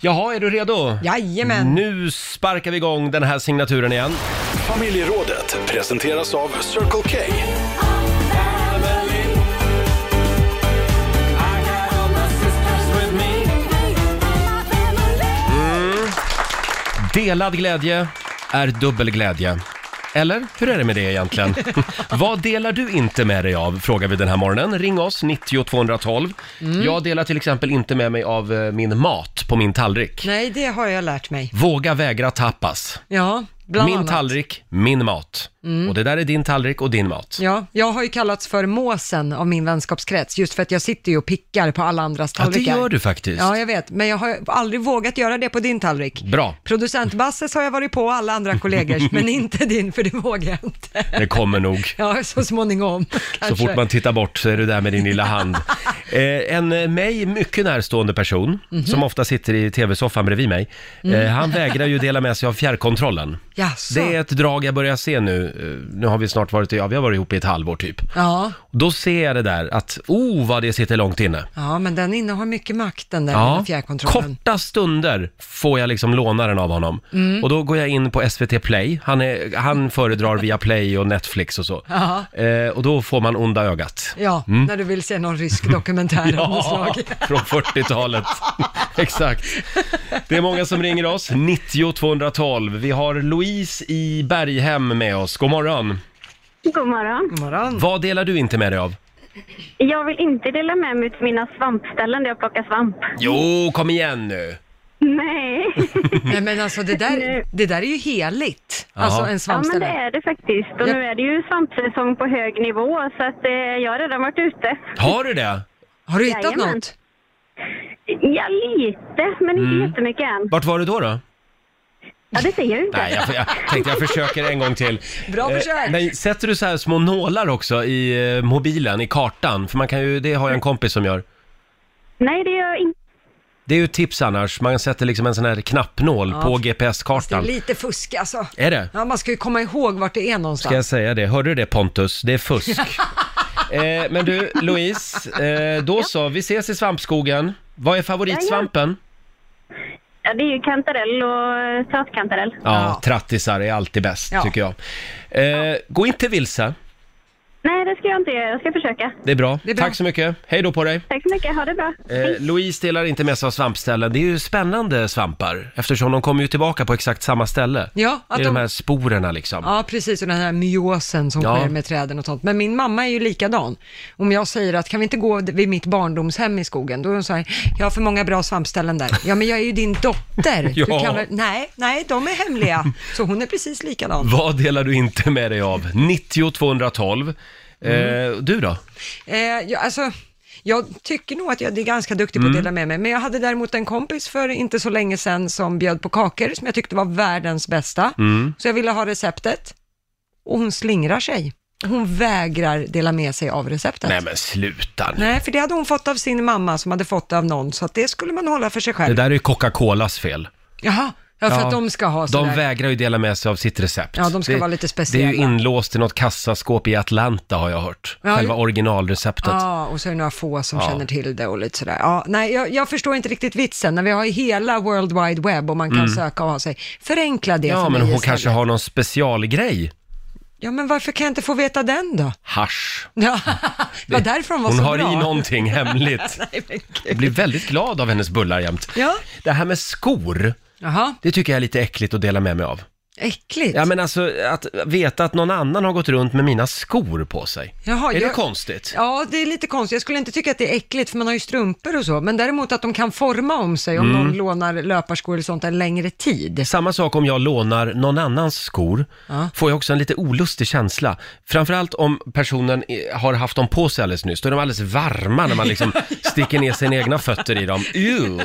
[SPEAKER 1] Jaha, är du redo?
[SPEAKER 3] Mm. Jajamän.
[SPEAKER 1] Nu sparkar vi igång den här signaturen igen.
[SPEAKER 4] Familjerådet presenteras av Circle K.
[SPEAKER 1] Delad glädje är dubbel glädje. Eller hur är det med det egentligen? Vad delar du inte med dig av? Frågar vi den här morgonen. Ring oss, 90 212.
[SPEAKER 3] Mm.
[SPEAKER 1] Jag delar till exempel inte med mig av eh, min mat på min tallrik.
[SPEAKER 3] Nej, det har jag lärt mig.
[SPEAKER 1] Våga vägra tapas.
[SPEAKER 3] Ja, bland
[SPEAKER 1] min
[SPEAKER 3] annat. Mm.
[SPEAKER 1] tallrik, min mat. Och det där är din tallrik och din mat.
[SPEAKER 3] Ja, jag har ju kallats för måsen av min vänskapskrets, just för att jag sitter ju och pickar på alla andras
[SPEAKER 1] Ja, det
[SPEAKER 3] tallrikar.
[SPEAKER 1] gör du faktiskt.
[SPEAKER 3] Ja, jag vet, men jag har aldrig vågat göra det på din tallrik.
[SPEAKER 1] Bra.
[SPEAKER 3] Producent Basses har jag varit på, alla andra kollegors, men inte din, för det vågar jag inte.
[SPEAKER 1] Det kommer nog.
[SPEAKER 3] Ja, så småningom
[SPEAKER 1] Så
[SPEAKER 3] kanske.
[SPEAKER 1] fort man tittar bort så är du där med din lilla hand. Eh, en eh, mig mycket närstående person,
[SPEAKER 3] Mhm.
[SPEAKER 1] som ofta sitter i tv-soffan bredvid mig, eh, han vägrar ju dela med sig av fjärrkontrollen.
[SPEAKER 3] Mm. Jaså?
[SPEAKER 1] Det är ett drag jag börjar se nu. Eh, Nu har vi snart varit, ja, vi har varit ihop i ett halvår typ.
[SPEAKER 3] Ja,
[SPEAKER 1] Då ser jag det där att, oh vad det sitter långt inne.
[SPEAKER 3] ja, men den innehar mycket makt, den där
[SPEAKER 1] Ja,
[SPEAKER 3] fjärrkontrollen.
[SPEAKER 1] korta stunder får jag liksom låna den av honom.
[SPEAKER 3] Mm.
[SPEAKER 1] Och då går jag in på SVT Play, han, är, han föredrar via Play och Netflix och så.
[SPEAKER 3] Ja.
[SPEAKER 1] Eh, och då får man onda ögat.
[SPEAKER 3] Ja, när du vill se någon rysk dokumentär av något
[SPEAKER 1] Mm. Ja,
[SPEAKER 3] slag.
[SPEAKER 1] från 40-talet. Exakt. Det är många som ringer oss, 90 212. Vi har Louise i Berghem med oss. God morgon.
[SPEAKER 6] God morgon.
[SPEAKER 1] Mm.
[SPEAKER 3] God morgon.
[SPEAKER 1] Vad delar du inte med dig av?
[SPEAKER 6] Jag vill inte dela med mig till mina svampställen där jag plockar svamp.
[SPEAKER 1] Jo, kom igen nu.
[SPEAKER 6] Nej.
[SPEAKER 3] Nej, men alltså det där, det där är ju heligt,
[SPEAKER 1] Jaha.
[SPEAKER 3] alltså en
[SPEAKER 6] Mm. Ja, men
[SPEAKER 3] svampställe.
[SPEAKER 6] det är det faktiskt. Och
[SPEAKER 3] Ja.
[SPEAKER 6] nu är det ju svampsäsong på hög nivå så att eh, jag har redan varit ute.
[SPEAKER 1] Har du det?
[SPEAKER 3] Har du hittat
[SPEAKER 6] Jajamän.
[SPEAKER 3] något?
[SPEAKER 6] Ja, lite, men inte
[SPEAKER 1] Mm.
[SPEAKER 6] jättemycket än.
[SPEAKER 1] Vart var du då? då?
[SPEAKER 6] Ja, det säger jag inte.
[SPEAKER 1] Nej, jag, jag tänkte jag försöker en gång till. Eh,
[SPEAKER 3] Bra försök.
[SPEAKER 1] men sätter du så här små nålar också i eh, mobilen, i kartan? För man kan ju, det har jag
[SPEAKER 3] Mm.
[SPEAKER 1] en kompis som gör.
[SPEAKER 6] Nej, det gör jag inte.
[SPEAKER 1] Det är ju ett tips annars, man sätter liksom en sån här knappnål på
[SPEAKER 3] Det är
[SPEAKER 1] GPS-kartan.
[SPEAKER 3] lite fusk alltså.
[SPEAKER 1] Är det?
[SPEAKER 3] Ja, man ska ju komma ihåg vart det är någonstans.
[SPEAKER 1] Ska jag säga det? Hörde du det Pontus? Det är fusk. eh, men du, Louise, eh, då så, vi ses i svampskogen. Vad är favoritsvampen?
[SPEAKER 6] Ja, det är ju kantarell och eh, sötkantarell.
[SPEAKER 1] Ja, trattisar är alltid bäst,
[SPEAKER 3] Ja.
[SPEAKER 1] tycker jag. Eh, gå inte vilse,
[SPEAKER 6] Nej, det ska jag inte göra. Jag ska försöka.
[SPEAKER 1] det är, bra.
[SPEAKER 3] är bra.
[SPEAKER 1] Tack så mycket, hej då på dig.
[SPEAKER 6] Tack så mycket. Ha det bra.
[SPEAKER 1] Eh, Louise delar inte med sig av svampställen. Det är ju spännande svampar, eftersom de kommer ju tillbaka på exakt samma ställe.
[SPEAKER 3] Ja, att
[SPEAKER 1] det är de
[SPEAKER 3] de-
[SPEAKER 1] här sporerna liksom.
[SPEAKER 3] Ja, precis. Och den här myosen som
[SPEAKER 1] Ja.
[SPEAKER 3] sker med träden och sånt. Men min mamma är ju likadan. Om jag säger att kan vi inte gå vid mitt barndomshem i skogen, då är hon så här, jag har för många bra svampställen där. Ja, men jag är ju din dotter.
[SPEAKER 1] Ja.
[SPEAKER 3] Du kan väl... Nej, nej, de är hemliga. Så hon är precis likadan.
[SPEAKER 1] Vad delar du inte med dig av? 90 212. Eh, du då?
[SPEAKER 3] Eh, jag, alltså, jag tycker nog att jag är ganska duktig på
[SPEAKER 1] Mm.
[SPEAKER 3] att dela med mig, men jag hade däremot en kompis för inte så länge sedan som bjöd på kakor som jag tyckte var världens bästa.
[SPEAKER 1] Mm.
[SPEAKER 3] Så jag ville ha receptet och hon slingrar sig. Hon vägrar dela med sig av receptet.
[SPEAKER 1] Nej men sluta nu.
[SPEAKER 3] Nej, för det hade hon fått av sin mamma som hade fått det av någon, så att det skulle man hålla för sig
[SPEAKER 1] Det
[SPEAKER 3] själv.
[SPEAKER 1] där är ju Coca-Colas fel.
[SPEAKER 3] Jaha, ja, för
[SPEAKER 1] Ja,
[SPEAKER 3] att de ska ha sådär.
[SPEAKER 1] De vägrar ju dela med sig av sitt recept.
[SPEAKER 3] Ja, de ska
[SPEAKER 1] det,
[SPEAKER 3] vara lite
[SPEAKER 1] Det är ju
[SPEAKER 3] speciella.
[SPEAKER 1] inlåst i något kassaskåp i Atlanta har jag hört.
[SPEAKER 3] Ja,
[SPEAKER 1] Själva
[SPEAKER 3] ju-
[SPEAKER 1] originalreceptet.
[SPEAKER 3] Ja, och så är det några få som känner till det och lite sådär. Ja, nej, jag, jag förstår inte riktigt vitsen när vi har hela World Wide Web och man kan söka och ha sig. Förenkla det
[SPEAKER 1] Mm. Ja,
[SPEAKER 3] för
[SPEAKER 1] men
[SPEAKER 3] mig
[SPEAKER 1] hon
[SPEAKER 3] istället.
[SPEAKER 1] kanske har någon specialgrej.
[SPEAKER 3] Ja, men varför kan jag inte få veta den då?
[SPEAKER 1] Hasch.
[SPEAKER 3] Ja, det var därför de var
[SPEAKER 1] Hon
[SPEAKER 3] så
[SPEAKER 1] har
[SPEAKER 3] bra.
[SPEAKER 1] i någonting hemligt.
[SPEAKER 3] Nej, men gud.
[SPEAKER 1] Jag blir väldigt glad av hennes bullar jämt.
[SPEAKER 3] Ja.
[SPEAKER 1] Det här med skor,
[SPEAKER 3] Jaha,
[SPEAKER 1] det tycker jag är lite äckligt att dela med mig av.
[SPEAKER 3] äckligt.
[SPEAKER 1] Ja men alltså, att veta att någon annan har gått runt med mina skor på sig.
[SPEAKER 3] Jaha,
[SPEAKER 1] är det
[SPEAKER 3] jag-
[SPEAKER 1] konstigt?
[SPEAKER 3] Ja, det är lite konstigt. Jag skulle inte tycka att det är äckligt, för man har ju strumpor och så, men däremot att de kan forma om sig
[SPEAKER 1] Mm.
[SPEAKER 3] om någon lånar löparskor eller sånt en längre tid.
[SPEAKER 1] Samma sak om jag lånar någon annans skor,
[SPEAKER 3] Ja.
[SPEAKER 1] får jag också en lite olustig känsla. Framförallt om personen eh, har haft dem på sig alldeles nyss, då är de alldeles varma när man liksom sticker ner sina egna fötter i dem. Ew.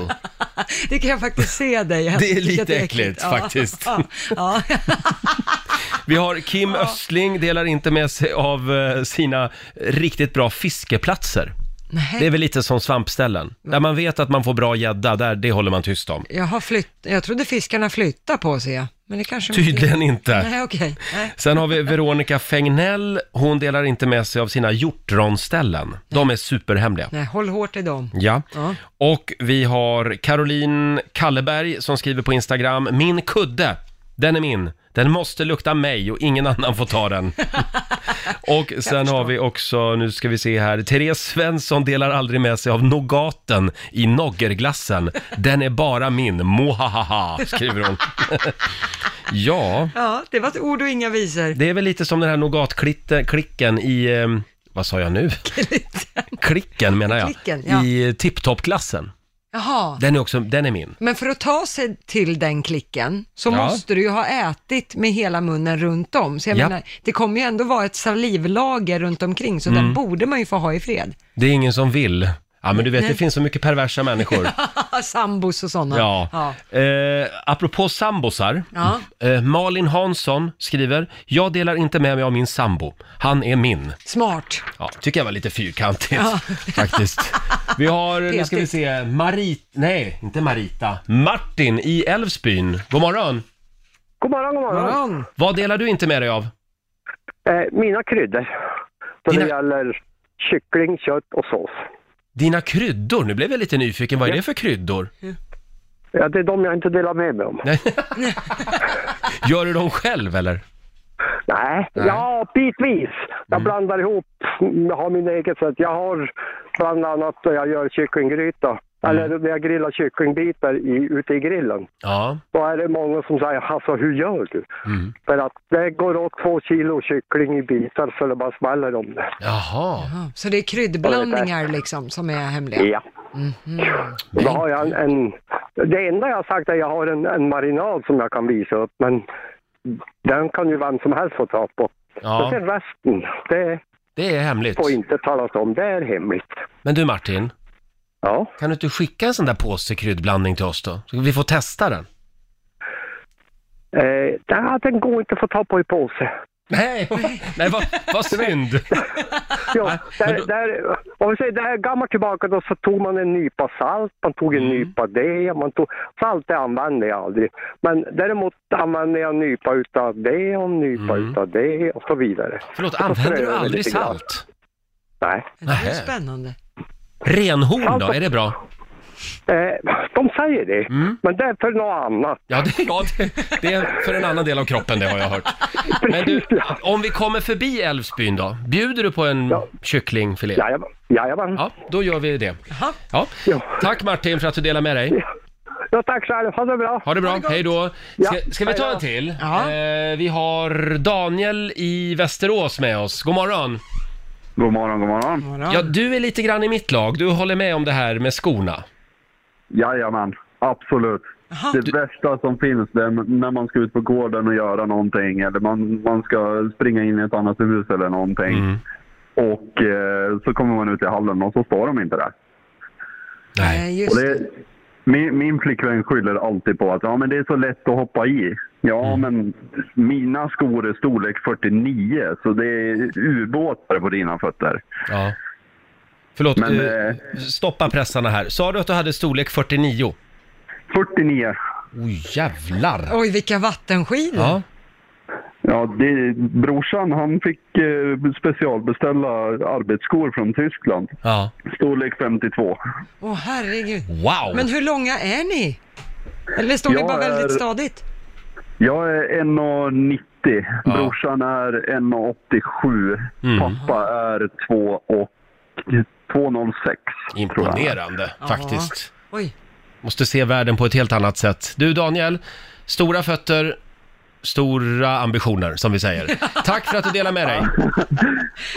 [SPEAKER 3] Det kan jag faktiskt se dig. Jag
[SPEAKER 1] Det är
[SPEAKER 3] tycker
[SPEAKER 1] lite
[SPEAKER 3] att
[SPEAKER 1] äckligt,
[SPEAKER 3] Ja.
[SPEAKER 1] faktiskt.
[SPEAKER 3] Ja.
[SPEAKER 1] Vi har Kim Östling, delar inte med sig av eh, sina riktigt bra fiskeplatser.
[SPEAKER 3] Nej.
[SPEAKER 1] Det är väl lite som svampställen. Där man vet att man får bra gädda, där, det håller man tyst om.
[SPEAKER 3] Jag, har flytt, jag trodde fiskarna flyttade på sig, ja. men det kanske
[SPEAKER 1] Tydligen inte.
[SPEAKER 3] Nej, okej. Nej.
[SPEAKER 1] Sen har vi Veronica Fägnell. Hon delar inte med sig av sina hjortronställen. De är superhemliga.
[SPEAKER 3] Nej, håll hårt i dem.
[SPEAKER 1] Ja.
[SPEAKER 3] Ja.
[SPEAKER 1] Och vi har Caroline Kalleberg som skriver på Instagram. Min kudde, den är min. Den måste lukta mig och ingen annan får ta den. och sen har vi också, nu ska vi se här, Therese Svensson delar aldrig med sig av nogaten i noggerglassen. Den är bara min, mohahaha, skriver hon. ja.
[SPEAKER 3] Ja, det var ett ord och inga visor.
[SPEAKER 1] Det är väl lite som den här nougatklicken i, eh, vad sa jag nu? Klicken menar jag.
[SPEAKER 3] Klicken, ja.
[SPEAKER 1] I tipptoppklassen.
[SPEAKER 3] Jaha.
[SPEAKER 1] Den är också, den är min.
[SPEAKER 3] Men för att ta sig till den klicken så
[SPEAKER 1] Ja.
[SPEAKER 3] måste du ju ha ätit med hela munnen runt om. Så jag
[SPEAKER 1] Ja.
[SPEAKER 3] menar, det kommer ju ändå vara ett salivlager runt omkring, så
[SPEAKER 1] Mm.
[SPEAKER 3] den borde man ju få ha i fred.
[SPEAKER 1] Det är ingen som vill. Ja, men du vet, det finns så mycket perversa människor.
[SPEAKER 3] Sambos och sådana.
[SPEAKER 1] Ja.
[SPEAKER 3] Ja.
[SPEAKER 1] Eh, apropå sambosar.
[SPEAKER 3] Ja.
[SPEAKER 1] Eh, Malin Hansson skriver, jag delar inte med mig av min sambo. Han är min.
[SPEAKER 3] Smart.
[SPEAKER 1] Ja, tycker jag var lite fyrkantigt faktiskt. Vi har, nu ska vi se, Marit, nej, inte Marita, Martin i Älvsbyn. God morgon!
[SPEAKER 9] God morgon, god morgon.
[SPEAKER 3] Morgon.
[SPEAKER 1] Vad delar du inte med dig av?
[SPEAKER 9] Eh, mina kryddor. När
[SPEAKER 1] Dina-
[SPEAKER 9] det gäller kyckling, kött och sås.
[SPEAKER 1] Dina kryddor, nu blev jag lite nyfiken, vad är det för kryddor?
[SPEAKER 9] Ja, det är de jag inte delar med mig om. Nej,
[SPEAKER 1] Gör du dem själv eller?
[SPEAKER 9] ja, bitvis. Jag
[SPEAKER 8] Mm.
[SPEAKER 9] blandar ihop, jag har min eget sätt. Jag har bland annat när jag gör
[SPEAKER 8] Mm.
[SPEAKER 9] kycklinggryta, eller när jag grillar kycklingbitar i, ute i grillen.
[SPEAKER 1] Ja,
[SPEAKER 9] Då är det många som säger, alltså hur gör du?
[SPEAKER 8] Mm.
[SPEAKER 9] För att det går åt två kilo kyckling i bitar så det bara smäller om det.
[SPEAKER 1] jaha.
[SPEAKER 3] Ja, Så det är kryddblandningar liksom som är hemliga?
[SPEAKER 9] Ja. Då har jag en, en, det enda jag har sagt är att jag har en, en marinad som jag kan visa upp, men den kan ju vem som helst få ta på. Och
[SPEAKER 1] Ja,
[SPEAKER 9] sen resten, det
[SPEAKER 1] det är hemligt.
[SPEAKER 9] får inte talas om, det är hemligt.
[SPEAKER 1] Men du Martin,
[SPEAKER 9] Ja,
[SPEAKER 1] kan du inte skicka en sån där påse kryddblandning till oss då? Så vi får testa den.
[SPEAKER 9] eh, den, den går inte att få ta på i påse.
[SPEAKER 1] Nej, nej vad, vad synd.
[SPEAKER 9] Ja,
[SPEAKER 1] men
[SPEAKER 9] där,
[SPEAKER 1] då-
[SPEAKER 9] där, om vi säger där gammalt tillbaka då så tog man en nypa salt, man tog en
[SPEAKER 1] Mm.
[SPEAKER 9] nypa det, man tog, salt det använde jag aldrig. Men däremot använde jag en nypa utav det och en nypa
[SPEAKER 1] Mm.
[SPEAKER 9] utav det och så vidare.
[SPEAKER 1] Förlåt,
[SPEAKER 9] Och så
[SPEAKER 1] använder du
[SPEAKER 9] ströade jag
[SPEAKER 1] aldrig
[SPEAKER 9] lite grann.
[SPEAKER 1] salt?
[SPEAKER 9] Nej.
[SPEAKER 3] Det är ju
[SPEAKER 1] Nähä.
[SPEAKER 3] spännande.
[SPEAKER 1] Renhorn då, är det bra?
[SPEAKER 9] Eh, de säger det,
[SPEAKER 1] Mm.
[SPEAKER 9] men det är för något annat.
[SPEAKER 1] Ja, det, ja det, det är för en annan del av kroppen det har jag hört. Men du, om vi kommer förbi Älvsbyn då, bjuder du på en kycklingfilé?
[SPEAKER 9] Jajamän. Jajamän.
[SPEAKER 1] Ja, då gör vi det.
[SPEAKER 3] Jaha.
[SPEAKER 1] Ja.
[SPEAKER 9] Ja.
[SPEAKER 1] Tack Martin för att du delar med dig.
[SPEAKER 9] Ja, tack själv, ha det bra.
[SPEAKER 1] Ha det bra, hej då. Ska,
[SPEAKER 9] Ja,
[SPEAKER 1] ska vi ta
[SPEAKER 9] hej då.
[SPEAKER 1] en till?
[SPEAKER 3] Ja.
[SPEAKER 1] Eh, vi har Daniel i Västerås med oss. God morgon.
[SPEAKER 8] God morgon, god morgon.
[SPEAKER 3] Morgon.
[SPEAKER 1] Ja, du är lite grann i mitt lag. Du håller med om det här med skorna.
[SPEAKER 8] Jajamän, absolut.
[SPEAKER 3] Jaha.
[SPEAKER 8] Det värsta som finns det är när man ska ut på gården och göra någonting eller man, man ska springa in i ett annat hus eller någonting.
[SPEAKER 1] Mm.
[SPEAKER 8] Och eh, så kommer man ut i hallen och så står de inte där.
[SPEAKER 3] Nej, just
[SPEAKER 8] Och
[SPEAKER 3] det.
[SPEAKER 8] det, min, min flickvän skyller alltid på att ja, men det är så lätt att hoppa i.
[SPEAKER 1] Mm.
[SPEAKER 8] Ja, men mina skor är storlek 49 så det är ubåtar på dina fötter.
[SPEAKER 1] Ja. Förlåt,
[SPEAKER 8] Men,
[SPEAKER 1] eh,
[SPEAKER 8] eh,
[SPEAKER 1] stoppa pressarna här. Sa du att du hade storlek 49?
[SPEAKER 8] 49.
[SPEAKER 1] Oj, Oh, jävlar!
[SPEAKER 3] Oj, vilka vattenskidor.
[SPEAKER 1] Ja.
[SPEAKER 8] Ja, det, brorsan han fick eh, specialbeställa arbetsskor från Tyskland.
[SPEAKER 1] ja.
[SPEAKER 8] Storlek 52.
[SPEAKER 3] Åh, herregud.
[SPEAKER 1] Wow!
[SPEAKER 3] Men hur långa är ni? Eller står ni
[SPEAKER 8] Jag
[SPEAKER 3] bara väldigt
[SPEAKER 8] är-
[SPEAKER 3] stadigt?
[SPEAKER 8] Jag är 1,90.
[SPEAKER 1] Ja. Mm.
[SPEAKER 8] Brorsan är 1,87. Pappa är 2 och 2,06. tror jag.
[SPEAKER 1] Imponerande, faktiskt.
[SPEAKER 3] Oj.
[SPEAKER 1] Måste se världen på ett helt annat sätt. Du, Daniel. Stora fötter, stora ambitioner, som vi säger. Tack för att du delar med dig.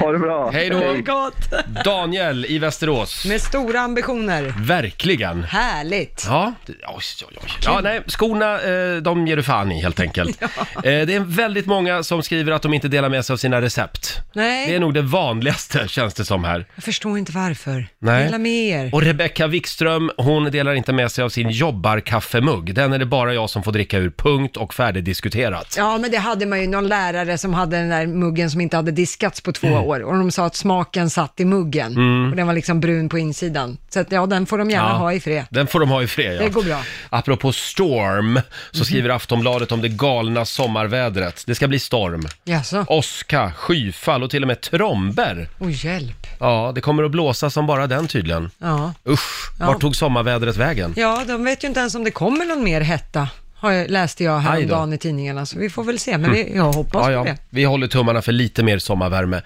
[SPEAKER 8] Ha det bra.
[SPEAKER 1] Hej då!
[SPEAKER 3] Gott.
[SPEAKER 1] Daniel i Västerås.
[SPEAKER 3] Med stora ambitioner.
[SPEAKER 1] Verkligen!
[SPEAKER 3] Härligt.
[SPEAKER 1] Ja, det- oj, oj, oj. ja nej, skorna, eh, de ger du fan i helt enkelt. Eh, det är väldigt många som skriver att de inte delar med sig av sina recept.
[SPEAKER 3] Nej.
[SPEAKER 1] Det är nog det vanligaste, känns det som här.
[SPEAKER 3] Jag förstår inte varför.
[SPEAKER 1] Nej.
[SPEAKER 3] Dela med er.
[SPEAKER 1] Och Rebecca Wikström, hon delar inte med sig av sin jobbarkaffemugg. Den är det bara jag som får dricka ur, punkt och färdigdiskuterat.
[SPEAKER 3] Ja, men det hade man ju någon lärare som hade den där muggen som inte hade diskats på
[SPEAKER 1] Mm.
[SPEAKER 3] två år och de sa att smaken satt i muggen och den var liksom brun på insidan. Så att, ja, den får de gärna
[SPEAKER 1] Ja.
[SPEAKER 3] ha i fred.
[SPEAKER 1] Den får de ha i fred, ja.
[SPEAKER 3] Det går bra. Mhm.
[SPEAKER 1] Apropå storm, så skriver Aftonbladet om det galna sommarvädret. Det ska bli storm.
[SPEAKER 3] Jaså? Oj,
[SPEAKER 1] Åska, skyfall och till och med tromber.
[SPEAKER 3] hjälp.
[SPEAKER 1] Ja, det kommer att blåsa som bara den tydligen.
[SPEAKER 3] Ja.
[SPEAKER 1] Usch,
[SPEAKER 3] Ja.
[SPEAKER 1] vart tog sommarvädret vägen?
[SPEAKER 3] ja, de vet ju inte ens om det kommer någon mer hetta, har jag, läste jag häromdagen i tidningarna, så vi får väl se. Men vi, jag hoppas
[SPEAKER 1] Mm. Ja,
[SPEAKER 3] på
[SPEAKER 1] ja,
[SPEAKER 3] det.
[SPEAKER 1] vi håller tummarna för lite mer sommarvärme.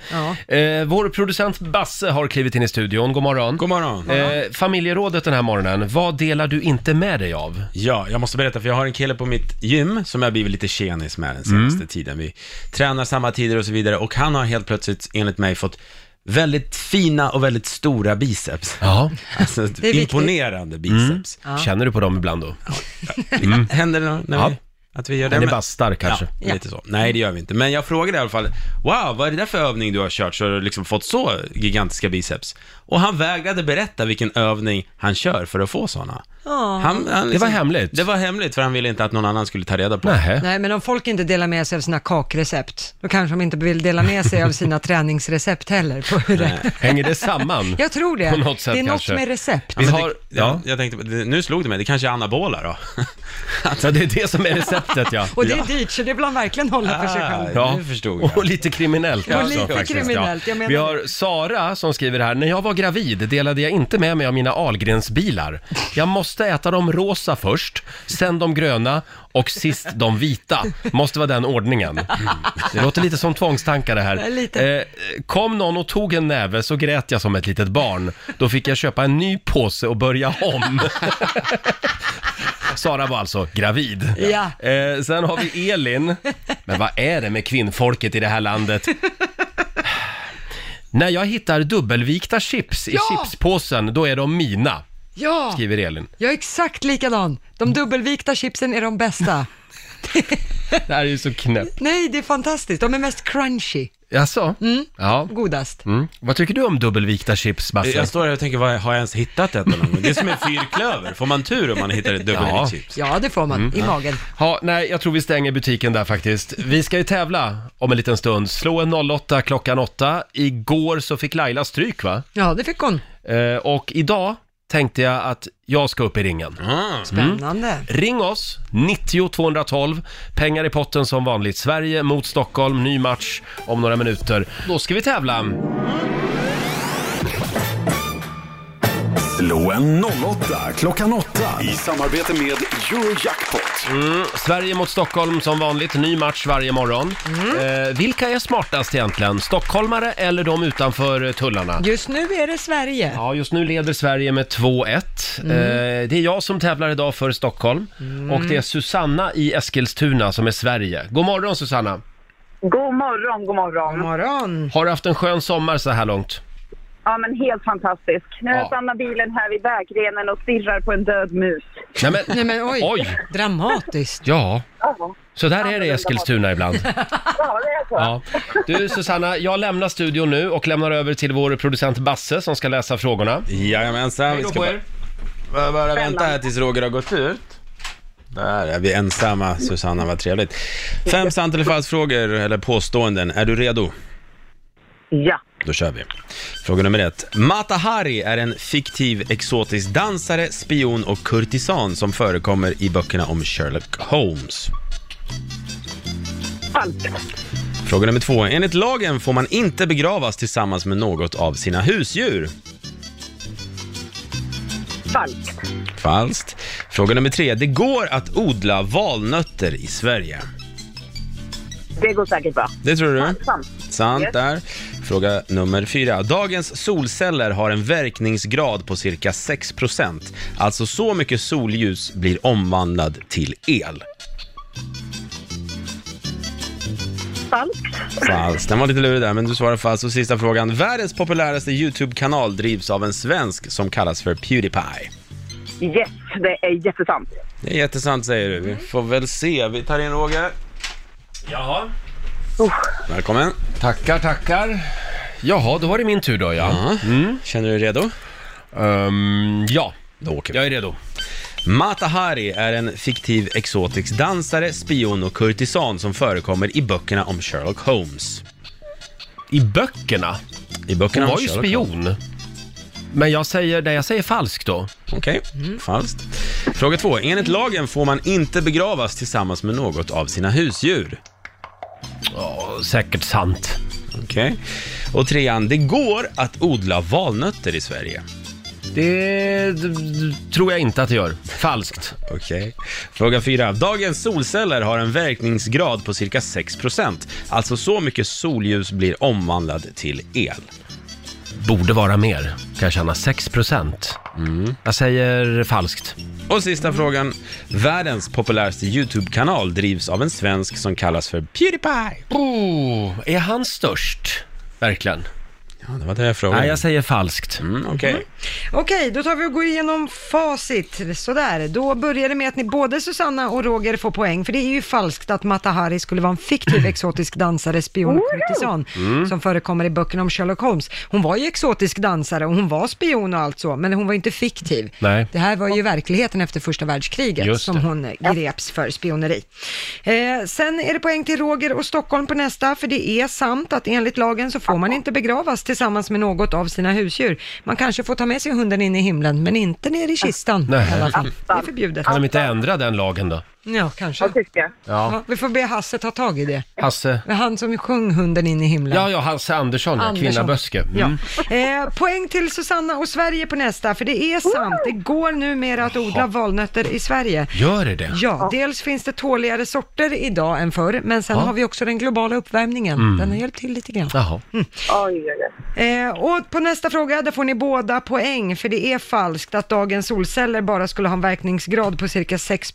[SPEAKER 3] Ja.
[SPEAKER 1] Eh, vår producent Basse har klivit in i studion. God morgon.
[SPEAKER 5] God morgon.
[SPEAKER 1] Eh, familjerådet den här morgonen, vad delar du inte med dig av?
[SPEAKER 5] Ja, jag måste berätta för jag har en kille på mitt gym som jag blivit lite tjenis
[SPEAKER 1] Mm.
[SPEAKER 5] med den senaste tiden. Vi tränar samma tider och så vidare och han har helt plötsligt enligt mig fått Väldigt fina och väldigt stora biceps.
[SPEAKER 1] Ja.
[SPEAKER 5] Alltså,
[SPEAKER 3] viktigt.
[SPEAKER 5] imponerande biceps.
[SPEAKER 1] Känner du på dem ibland då?
[SPEAKER 5] Händer det nå- när
[SPEAKER 1] Mm. Ja.
[SPEAKER 5] vi, att vi gör det?
[SPEAKER 1] Den är
[SPEAKER 5] Men-
[SPEAKER 1] bara stark kanske.
[SPEAKER 5] Ja, lite så. Nej, det gör vi inte. Men jag frågade i alla fall, wow, vad är det där för övning du har kört så har du liksom fått så gigantiska biceps? Och han vägrade berätta vilken övning han kör för att få sådana. Han, han
[SPEAKER 1] Det var hemligt.
[SPEAKER 5] Det var hemligt, för han ville inte att någon annan skulle ta reda på.
[SPEAKER 1] Nähä.
[SPEAKER 3] Nej, men om folk inte delar med sig av sina kakrecept, då kanske de inte vill dela med sig av sina träningsrecept heller. På hur det.
[SPEAKER 1] Hänger det samman?
[SPEAKER 3] Jag tror det.
[SPEAKER 1] På något sätt
[SPEAKER 3] det är något
[SPEAKER 1] kanske.
[SPEAKER 3] med recept.
[SPEAKER 1] Vi
[SPEAKER 5] Men
[SPEAKER 1] har,
[SPEAKER 5] Alltså, det, ja.
[SPEAKER 1] ja.
[SPEAKER 5] Jag tänkte, det- nu slog det mig, det kanske är anabola då.
[SPEAKER 1] ja, det är det som är receptet ja.
[SPEAKER 3] Och det är dyrt, så det vill han verkligen hålla för sig själv.
[SPEAKER 1] Ja,
[SPEAKER 5] nu förstod jag.
[SPEAKER 1] och lite kriminellt
[SPEAKER 3] Och
[SPEAKER 1] också,
[SPEAKER 3] lite
[SPEAKER 1] faktiskt,
[SPEAKER 3] kriminellt, jag menar
[SPEAKER 1] Vi
[SPEAKER 3] det.
[SPEAKER 1] har Sara som skriver här, när jag var gravid delade jag inte med mig av mina Ahlgrensbilar. Jag måste äta de rosa först, sen de gröna och sist de vita. Måste vara den ordningen. Det låter lite som tvångstankar det
[SPEAKER 3] Ja,
[SPEAKER 1] här.
[SPEAKER 3] lite.
[SPEAKER 1] Eh, kom någon och tog en näve så grät jag som ett litet barn. Då fick jag köpa en ny påse och börja om. Sara var alltså gravid.
[SPEAKER 3] Ja.
[SPEAKER 1] Eh, sen har vi Elin. Men vad är det med kvinnfolket i det här landet? När jag hittar dubbelvikta chips i
[SPEAKER 3] Ja!
[SPEAKER 1] chipspåsen, då är de mina,
[SPEAKER 3] Ja,
[SPEAKER 1] skriver Elin.
[SPEAKER 3] jag är exakt likadan. De dubbelvikta chipsen är de bästa.
[SPEAKER 1] Det här är ju så knäppt.
[SPEAKER 3] Nej, det är fantastiskt. De är mest crunchy,
[SPEAKER 1] Jaså?
[SPEAKER 3] Mm.
[SPEAKER 1] Ja.
[SPEAKER 3] godast.
[SPEAKER 1] Mm. Vad tycker du om dubbelvikta chips, Basse?
[SPEAKER 5] Jag står här och tänker, vad, har jag ens hittat detta någon gång? Det är som en fyrklöver, får man tur om man hittar ett
[SPEAKER 1] Ja.
[SPEAKER 5] dubbelvikt chips?
[SPEAKER 3] Ja, det får man
[SPEAKER 1] Mm.
[SPEAKER 3] i magen.
[SPEAKER 1] Ja, nej, jag tror vi stänger butiken där faktiskt. Vi ska ju tävla om en liten stund. Slå en 08 klockan 8. Igår så fick Laila stryk, va?
[SPEAKER 3] Ja, det fick hon.
[SPEAKER 1] Eh, och idag tänkte jag att jag ska upp i ringen.
[SPEAKER 5] Ah.
[SPEAKER 3] Spännande.
[SPEAKER 1] Ring oss, 90 212. Pengar i potten som vanligt. Sverige mot Stockholm, ny match om några minuter. Då ska vi tävla.
[SPEAKER 4] Slå en 08 klockan 8 i
[SPEAKER 10] Samarbete med Eurojackpot.
[SPEAKER 1] Sverige mot Stockholm som vanligt, ny match varje morgon. Eh, vilka är smartast egentligen? Stockholmare eller de utanför eh, tullarna?
[SPEAKER 3] Just nu är det Sverige.
[SPEAKER 1] Ja, just nu leder Sverige med 2-1. Eh, det är jag som tävlar idag för Stockholm och det är Susanna i Eskilstuna som är Sverige. God morgon Susanna!
[SPEAKER 6] God morgon, god morgon.
[SPEAKER 3] God morgon.
[SPEAKER 1] Har du haft en skön sommar så här långt?
[SPEAKER 6] Ja, men helt fantastisk. Nu
[SPEAKER 1] Ja.
[SPEAKER 6] stannar bilen här vid vägrenen och stirrar på en död mus.
[SPEAKER 1] Nej men,
[SPEAKER 3] Nej men oj,
[SPEAKER 1] oj!
[SPEAKER 3] dramatiskt.
[SPEAKER 1] Ja,
[SPEAKER 6] Ja,
[SPEAKER 1] så där är det i Eskilstuna ibland.
[SPEAKER 6] ja det är så.
[SPEAKER 1] Ja. Du Susanna, jag lämnar studion nu och lämnar över till vår producent Basse som ska läsa frågorna.
[SPEAKER 5] Jajamensan, vi ska bara, bara, bara vänta här tills Roger har gått ut. Där är vi ensamma, Susanna, vad trevligt. Fem sant eller falskt frågor eller påståenden. Är du redo?
[SPEAKER 6] Ja.
[SPEAKER 5] Då kör vi. Fråga nummer ett. Mata Hari är en fiktiv exotisk dansare, spion och kurtisan som förekommer i böckerna om Sherlock Holmes.
[SPEAKER 6] Falskt.
[SPEAKER 5] Fråga nummer två. Enligt lagen får man inte begravas tillsammans med något av sina husdjur.
[SPEAKER 6] Falskt.
[SPEAKER 5] Falskt. Fråga nummer tre. Det går att odla valnötter i Sverige.
[SPEAKER 6] Det går säkert bra.
[SPEAKER 5] Det tror du?
[SPEAKER 6] Sant.
[SPEAKER 5] Sant
[SPEAKER 6] Yes.
[SPEAKER 5] där. Fråga nummer fyra. Dagens solceller har en verkningsgrad på cirka 6 Alltså så mycket solljus blir omvandlad till el.
[SPEAKER 6] Falskt.
[SPEAKER 5] Falskt. Den var lite lurig där, men du svarar falskt. Och sista frågan. Världens populäraste YouTube-kanal drivs av en svensk som kallas för Pewdiepie.
[SPEAKER 6] Yes, det är jättesant.
[SPEAKER 5] Det är jättesant säger du. Vi får väl se. Vi tar in Roger.
[SPEAKER 1] Jaha.
[SPEAKER 5] Välkommen.
[SPEAKER 1] Tackar, tackar. Jaha, då var det min tur då ja.
[SPEAKER 5] Ja. Känner du dig redo?
[SPEAKER 1] Ehm, ja,
[SPEAKER 5] Då åker vi.
[SPEAKER 1] jag är redo.
[SPEAKER 5] Mata Hari är en fiktiv exotisk dansare, spion och kurtisan som förekommer i böckerna om Sherlock Holmes.
[SPEAKER 1] I böckerna,
[SPEAKER 5] I böckerna
[SPEAKER 1] hon
[SPEAKER 5] om
[SPEAKER 1] var ju
[SPEAKER 5] Sherlock Holmes.
[SPEAKER 1] spion. Men jag säger, nej jag säger falskt då.
[SPEAKER 5] Okej,
[SPEAKER 1] Mm.
[SPEAKER 5] falskt. Fråga två. Enligt lagen får man inte begravas tillsammans med något av sina husdjur.
[SPEAKER 1] Ja, säkert sant.
[SPEAKER 5] Okej. Och trean. Det går att odla valnötter i Sverige.
[SPEAKER 1] Det d- d- tror jag inte att det gör. Falskt.
[SPEAKER 5] Okej. Fråga fyra. Dagens solceller har en verkningsgrad på cirka 6%. Alltså så mycket solljus blir omvandlad till el.
[SPEAKER 1] Borde vara mer, kan jag känna. 6 procent. Jag säger falskt.
[SPEAKER 5] Och sista frågan. Världens populäraste YouTube-kanal drivs av en svensk som kallas för Pewdiepie.
[SPEAKER 1] Oh, är han störst? Verkligen.
[SPEAKER 5] Ja, det var det jag frågade.
[SPEAKER 1] Nej, jag säger falskt.
[SPEAKER 5] Mm, Okej.
[SPEAKER 3] Okej, då tar vi och går igenom facit. Sådär, då börjar det med att ni både Susanna och Roger får poäng, för det är ju falskt att Mata Hari skulle vara en fiktiv exotisk dansare, spion och kurtisan,
[SPEAKER 1] Mm.
[SPEAKER 3] som förekommer i böckerna om Sherlock Holmes. Hon var ju exotisk dansare och hon var spion och allt så, men hon var ju inte fiktiv.
[SPEAKER 1] Nej.
[SPEAKER 3] Det här var ju verkligheten efter första världskriget
[SPEAKER 1] Just
[SPEAKER 3] som
[SPEAKER 1] det.
[SPEAKER 3] hon greps för spioneri. Eh, sen är det poäng till Roger och Stockholm på nästa, för det är sant att enligt lagen så får man inte begravas tillsammans med något av sina husdjur. Man kanske får ta med sig hunden in i himlen, men inte ner i kistan
[SPEAKER 1] Nej.
[SPEAKER 3] i alla fall. Det är förbjudet.
[SPEAKER 1] Kan de inte ändra den lagen då?
[SPEAKER 3] Ja, kanske. Ja,
[SPEAKER 1] Ja.
[SPEAKER 3] vi får be Hasse ta tag i det.
[SPEAKER 1] Hasse.
[SPEAKER 3] Det är han som sjöng hunden in i himlen.
[SPEAKER 1] Ja, ja, Hasse Andersson, ja.
[SPEAKER 3] Andersson.
[SPEAKER 1] Kvinna Böske. Mm.
[SPEAKER 3] Ja. Eh, poäng till Susanna och Sverige på nästa, för det är sant. Det går numera att odla valnötter i Sverige.
[SPEAKER 1] Gör det det?
[SPEAKER 3] Ja, dels finns det tåligare sorter idag än förr, men sen
[SPEAKER 1] Ja. Mm.
[SPEAKER 3] har vi också den globala uppvärmningen. Den har hjälpt till lite grann.
[SPEAKER 1] Jaha.
[SPEAKER 3] Eh, och på nästa fråga, där får ni båda poäng, för det är falskt att dagens solceller bara skulle ha en verkningsgrad på cirka 6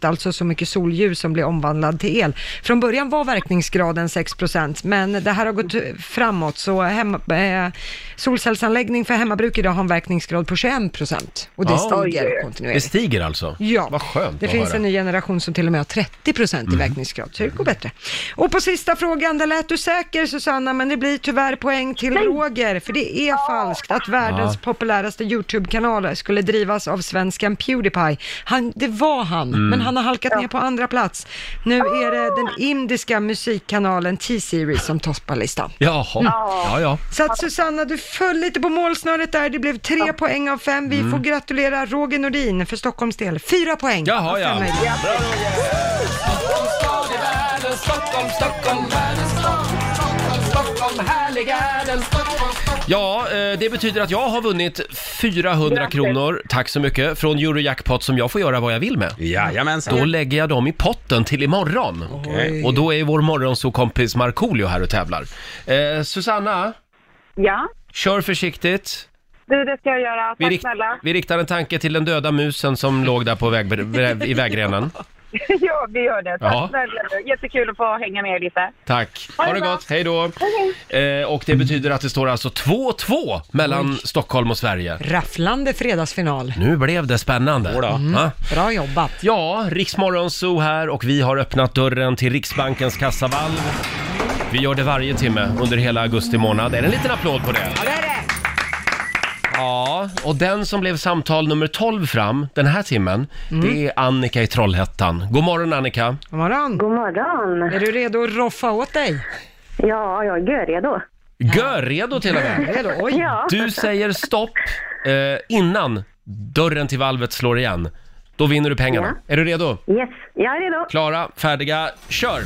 [SPEAKER 3] alltså så mycket solljus som blir omvandlad till el. Från början var verkningsgraden 6 men det här har gått framåt, så hemma, eh, solcellsanläggning för hemmabruk idag har en verkningsgrad på 21 och det
[SPEAKER 1] Ja.
[SPEAKER 3] stiger
[SPEAKER 1] Det
[SPEAKER 3] kontinuerligt.
[SPEAKER 1] stiger alltså?
[SPEAKER 3] Ja,
[SPEAKER 1] Vad skönt
[SPEAKER 3] det
[SPEAKER 1] att
[SPEAKER 3] finns
[SPEAKER 1] höra. Mm.
[SPEAKER 3] en ny generation som till och med har 30 procent i verkningsgrad, så det går bättre. Och på sista frågan, där lät du säker Susanna, men det blir tyvärr poäng till Roger, för det är falskt att världens populäraste YouTube-kanal skulle drivas av svensken Pewdiepie. Han, det var han,
[SPEAKER 1] Mm.
[SPEAKER 3] men han har halkat ner på andra plats. Nu är det den indiska musikkanalen T-Series som toppar listan.
[SPEAKER 1] Jaha. Ja, ja.
[SPEAKER 3] Så att Susanna, du föll lite på målsnöret där. Det blev tre poäng av fem.
[SPEAKER 1] Mm.
[SPEAKER 3] Vi får gratulera Roger Nordin för Stockholms del. Fyra poäng
[SPEAKER 1] Jaha,
[SPEAKER 3] av
[SPEAKER 1] ja.
[SPEAKER 3] fem möjliga.
[SPEAKER 1] Ja, eh, det betyder att jag har vunnit 400 kronor, tack så mycket, från Eurojackpot som jag får göra vad jag vill med.
[SPEAKER 5] Jajamensan.
[SPEAKER 1] Då lägger jag dem i potten till imorgon.
[SPEAKER 5] Mm. Okej.
[SPEAKER 1] Och då är vår morgonsokompis Markoolio här och tävlar. Eh, Susanna,
[SPEAKER 6] Ja,
[SPEAKER 1] kör försiktigt.
[SPEAKER 6] du det ska jag göra.
[SPEAKER 1] Vi,
[SPEAKER 6] Tack
[SPEAKER 1] rikt
[SPEAKER 6] snälla.
[SPEAKER 1] vi riktar en tanke till den döda musen som låg där på väg i vägrenen.
[SPEAKER 6] ja, vi gör det. Tack
[SPEAKER 1] Ja.
[SPEAKER 6] snälla du. Jättekul att få hänga med lite.
[SPEAKER 1] Tack. Ha det
[SPEAKER 6] bra.
[SPEAKER 1] gott, hej då. Eh, och det betyder att det står alltså 2-2 mellan Stockholm och Sverige.
[SPEAKER 3] Rafflande fredagsfinal.
[SPEAKER 1] Nu blev det spännande.
[SPEAKER 5] Jodå.
[SPEAKER 1] Va?
[SPEAKER 3] Bra jobbat.
[SPEAKER 1] Ja, Riksmorgonzoo här och vi har öppnat dörren till Riksbankens kassavalv. Vi gör det varje timme under hela augusti månad. Är det en liten applåd på det? Ja, och den som blev samtal nummer 12 fram den här timmen, det är Annika i Trollhättan. God morgon Annika!
[SPEAKER 3] God morgon.
[SPEAKER 6] God morgon.
[SPEAKER 3] Är du redo att roffa åt dig?
[SPEAKER 6] Ja, jag är görredo.
[SPEAKER 1] Gör redo till och med!
[SPEAKER 3] Redo? Oj.
[SPEAKER 6] Ja.
[SPEAKER 1] Du säger stopp eh, innan dörren till valvet slår igen. Då vinner du pengarna. Är du redo?
[SPEAKER 6] Yes, jag är redo.
[SPEAKER 1] Klara, färdiga, kör!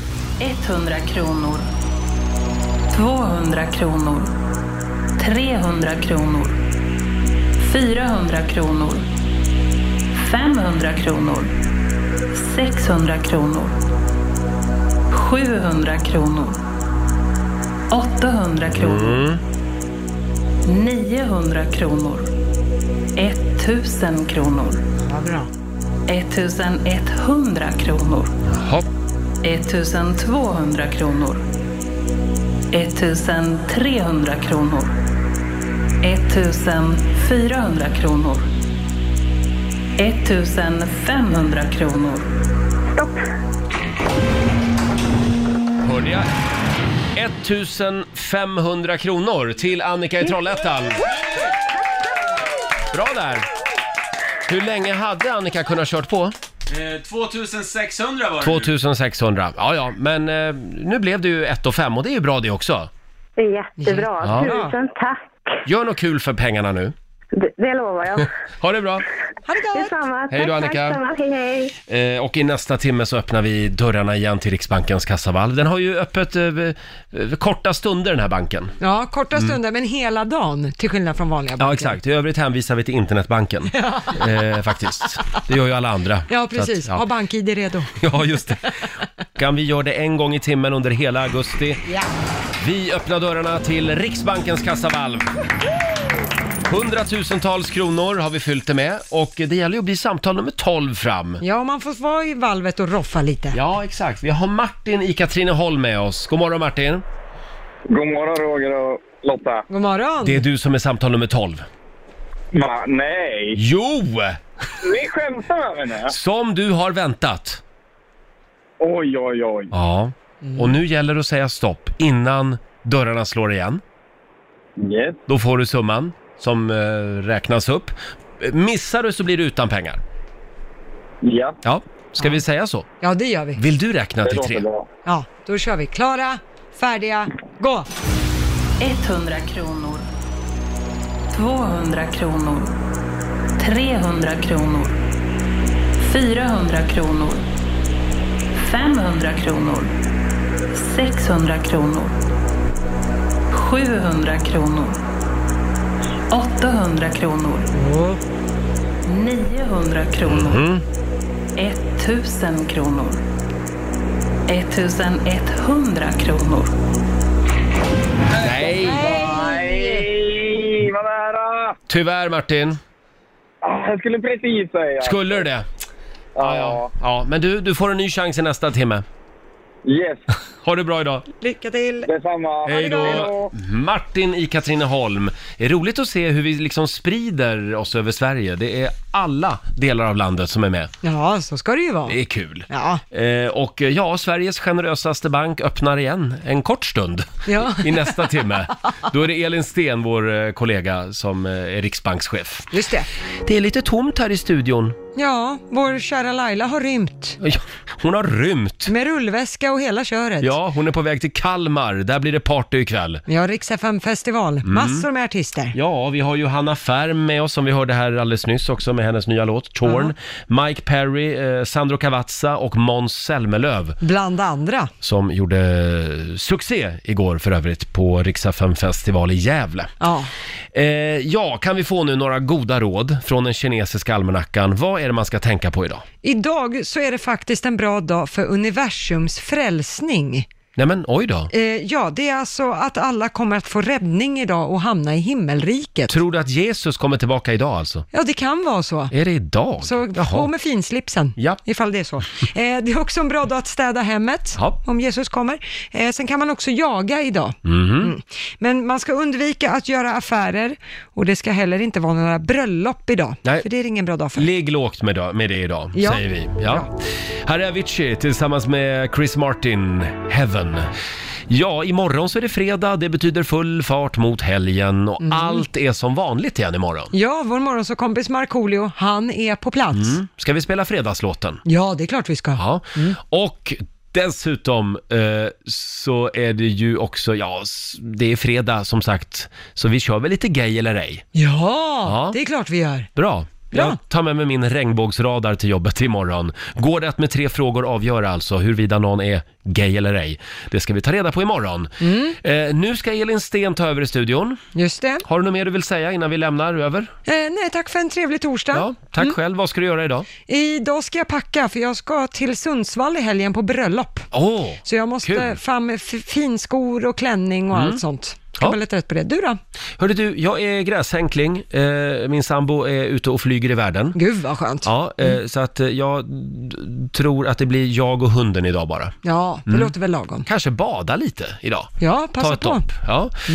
[SPEAKER 7] 100 kronor. 200 kronor. 300 kronor. 400 kronor. 500 kronor. 600 kronor. 700 kronor. 800 kronor. 900 kronor. 1000 kronor.
[SPEAKER 3] Ja, bra.
[SPEAKER 7] 1100 kronor.
[SPEAKER 1] Hopp.
[SPEAKER 7] 1200 kronor. 1300 kronor. 1400 kronor. 1500 kronor.
[SPEAKER 1] Hörde jag? 1500 kronor till Annika i Trollhättan. Bra där! Hur länge hade Annika kunnat kört på?
[SPEAKER 5] Eh, 2600 var det nu.
[SPEAKER 1] 2600. Ja, ja, men eh, nu blev det ju 1 och 5 och det är ju bra det också.
[SPEAKER 6] Det är jättebra.
[SPEAKER 1] Ja.
[SPEAKER 6] Tusen tack.
[SPEAKER 1] Gör något kul för pengarna nu.
[SPEAKER 6] Det, det lovar jag.
[SPEAKER 1] Ha det bra!
[SPEAKER 3] Ha det gott!
[SPEAKER 6] Detsamma.
[SPEAKER 1] Hej då,
[SPEAKER 6] Tack, tack,
[SPEAKER 1] Annika.
[SPEAKER 6] detsamma. Hej, hej.
[SPEAKER 1] Eh, och i nästa timme så öppnar vi dörrarna igen till Riksbankens kassavalv. Den har ju öppet eh, eh, korta stunder den här banken.
[SPEAKER 3] Ja, korta stunder, men hela dagen, till skillnad från vanliga banker.
[SPEAKER 1] Mm. Ja, exakt. I övrigt hänvisar vi till internetbanken. eh, faktiskt. Det gör ju alla andra.
[SPEAKER 3] Ja,
[SPEAKER 1] Så
[SPEAKER 3] precis.
[SPEAKER 1] att, ja.
[SPEAKER 3] Ha bank-id redo.
[SPEAKER 1] Ja, just det. Kan vi göra det en gång i timmen under hela augusti?
[SPEAKER 3] Ja.
[SPEAKER 1] Vi öppnar dörrarna till Riksbankens kassavalv. Hundratusentals kronor har vi fyllt det med och det gäller ju att bli samtal nummer 12 fram.
[SPEAKER 3] Ja, man får vara i valvet och roffa lite.
[SPEAKER 1] Ja, exakt. Vi har Martin i Katrineholm med oss. God morgon Martin!
[SPEAKER 11] God morgon Roger och Lotta.
[SPEAKER 3] God morgon.
[SPEAKER 1] Det är du som är samtal nummer 12.
[SPEAKER 11] Va, nej,
[SPEAKER 1] Jo!
[SPEAKER 11] ni skämtar med mig nu?
[SPEAKER 1] Som du har väntat.
[SPEAKER 11] Oj, oj, oj.
[SPEAKER 1] Ja. Och nu gäller det att säga stopp innan dörrarna slår igen.
[SPEAKER 11] Yes.
[SPEAKER 1] Då får du summan som eh, räknas upp. Eh, Missar du så blir du utan pengar.
[SPEAKER 11] Ja.
[SPEAKER 1] Ja, ska vi säga så?
[SPEAKER 3] Ja, det gör vi.
[SPEAKER 1] Vill du räkna till tre?
[SPEAKER 3] Ja, då kör vi. Klara, färdiga, gå!
[SPEAKER 7] 100 kronor. 200 kronor. 300 kronor. 400 kronor. 500 kronor. 600 kronor. 700 kronor. 800 kronor. 900 kronor. 1000 kronor. 1100 kronor.
[SPEAKER 1] Nej!
[SPEAKER 11] Nej, vad nära! Ah,
[SPEAKER 1] Tyvärr Martin,
[SPEAKER 11] Jag skulle precis säga.
[SPEAKER 1] skulle du det?
[SPEAKER 11] Ja,
[SPEAKER 1] Ja, men du, du får en ny chans i nästa timme.
[SPEAKER 11] Yes.
[SPEAKER 1] Ha det bra idag.
[SPEAKER 3] Lycka till!
[SPEAKER 11] Detsamma.
[SPEAKER 1] Hej då! Martin i Katrineholm. Det är roligt att se hur vi liksom sprider oss över Sverige. Det är alla delar av landet som är med.
[SPEAKER 3] Ja, så ska det ju vara.
[SPEAKER 1] Det är kul.
[SPEAKER 3] Ja.
[SPEAKER 1] Eh, och eh, ja, Sveriges generösaste bank öppnar igen en kort stund
[SPEAKER 3] Ja.
[SPEAKER 1] i nästa timme. Då är det Elin Sten, vår eh, kollega, som eh, är riksbankschef.
[SPEAKER 3] Just det.
[SPEAKER 1] Det är lite tomt här i studion.
[SPEAKER 3] Ja, vår kära Laila har rymt.
[SPEAKER 1] Ja, Hon har rymt.
[SPEAKER 3] Med rullväska och hela köret.
[SPEAKER 1] Ja, hon är på väg till Kalmar. Där blir det party ikväll.
[SPEAKER 3] Vi har Rix festival
[SPEAKER 1] Mm.
[SPEAKER 3] massor med artister.
[SPEAKER 1] Ja, vi har Johanna Färm med oss som vi hörde här alldeles nyss också med hennes nya låt Torn. Mike Perry, eh, Sandro Cavazza och Måns Zelmerlöw
[SPEAKER 3] Bland andra.
[SPEAKER 1] som gjorde succé igår för övrigt på Riksaffem festival i Gävle.
[SPEAKER 3] Ja.
[SPEAKER 1] Eh, ja, kan vi få nu några goda råd från den kinesiska almanackan? Vad är det man ska tänka på idag?
[SPEAKER 3] Idag så är det faktiskt en bra dag för universums frälsning.
[SPEAKER 1] Nej men oj då.
[SPEAKER 3] Eh, ja, det är alltså att alla kommer att få räddning idag och hamna i himmelriket.
[SPEAKER 1] Tror du att Jesus kommer tillbaka idag alltså?
[SPEAKER 3] Ja, det kan vara så.
[SPEAKER 1] Är det idag?
[SPEAKER 3] Så på med finslipsen,
[SPEAKER 1] Ja.
[SPEAKER 3] ifall det är så. Eh, det är också en bra dag att städa hemmet,
[SPEAKER 1] Ja.
[SPEAKER 3] om Jesus kommer. Eh, sen kan man också jaga idag.
[SPEAKER 1] Mhm.
[SPEAKER 3] Mm. Men man ska undvika att göra affärer och det ska heller inte vara några bröllop idag,
[SPEAKER 1] Nej.
[SPEAKER 3] för det är ingen bra dag för.
[SPEAKER 1] Ligg lågt med, da- med det idag,
[SPEAKER 3] Ja.
[SPEAKER 1] säger vi. Ja.
[SPEAKER 3] Bra.
[SPEAKER 1] Här är Avicii tillsammans med Chris Martin, Heaven. Ja, imorgon så är det fredag, det betyder full fart mot helgen och
[SPEAKER 3] Mm.
[SPEAKER 1] allt är som vanligt igen imorgon.
[SPEAKER 3] Ja, vår morgonsåkompis Markoolio, han är på plats.
[SPEAKER 1] Ska vi spela fredagslåten?
[SPEAKER 3] Ja, det är klart vi ska.
[SPEAKER 1] Ja. Och dessutom eh, så är det ju också, ja, s- det är fredag som sagt, så vi kör väl lite gay eller ej.
[SPEAKER 3] Ja,
[SPEAKER 1] Ja.
[SPEAKER 3] det är klart vi gör.
[SPEAKER 1] Bra.
[SPEAKER 3] Bra.
[SPEAKER 1] Jag tar med mig min regnbågsradar till jobbet imorgon. Går det att med tre frågor avgöra alltså huruvida någon är gay eller ej? Det ska vi ta reda på imorgon. Eh, nu ska Elin Sten ta över i studion.
[SPEAKER 3] Just det.
[SPEAKER 1] Har du något mer du vill säga innan vi lämnar över?
[SPEAKER 3] Eh, nej, tack för en trevlig torsdag.
[SPEAKER 1] Ja, Mm. tack själv. Vad ska du göra idag?
[SPEAKER 3] Idag ska jag packa, för jag ska till Sundsvall i helgen på bröllop.
[SPEAKER 1] Åh,
[SPEAKER 3] Så jag måste
[SPEAKER 1] Kul. Mm.
[SPEAKER 3] fram f- finskor och klänning och allt sånt. Ska
[SPEAKER 1] Ja.
[SPEAKER 3] vara lite rätt på det. Du då?
[SPEAKER 1] hörde du, jag är gräshänkling. Eh, min sambo är ute och flyger i världen.
[SPEAKER 3] Gud vad skönt. Ja,
[SPEAKER 1] Ja, eh, så att eh, jag d- tror att det blir jag och hunden idag bara.
[SPEAKER 3] det låter väl lagom.
[SPEAKER 1] Kanske bada lite idag.
[SPEAKER 3] Ja, passa
[SPEAKER 1] Mm. Ta ett
[SPEAKER 3] på. Mm.
[SPEAKER 1] dopp. Ja.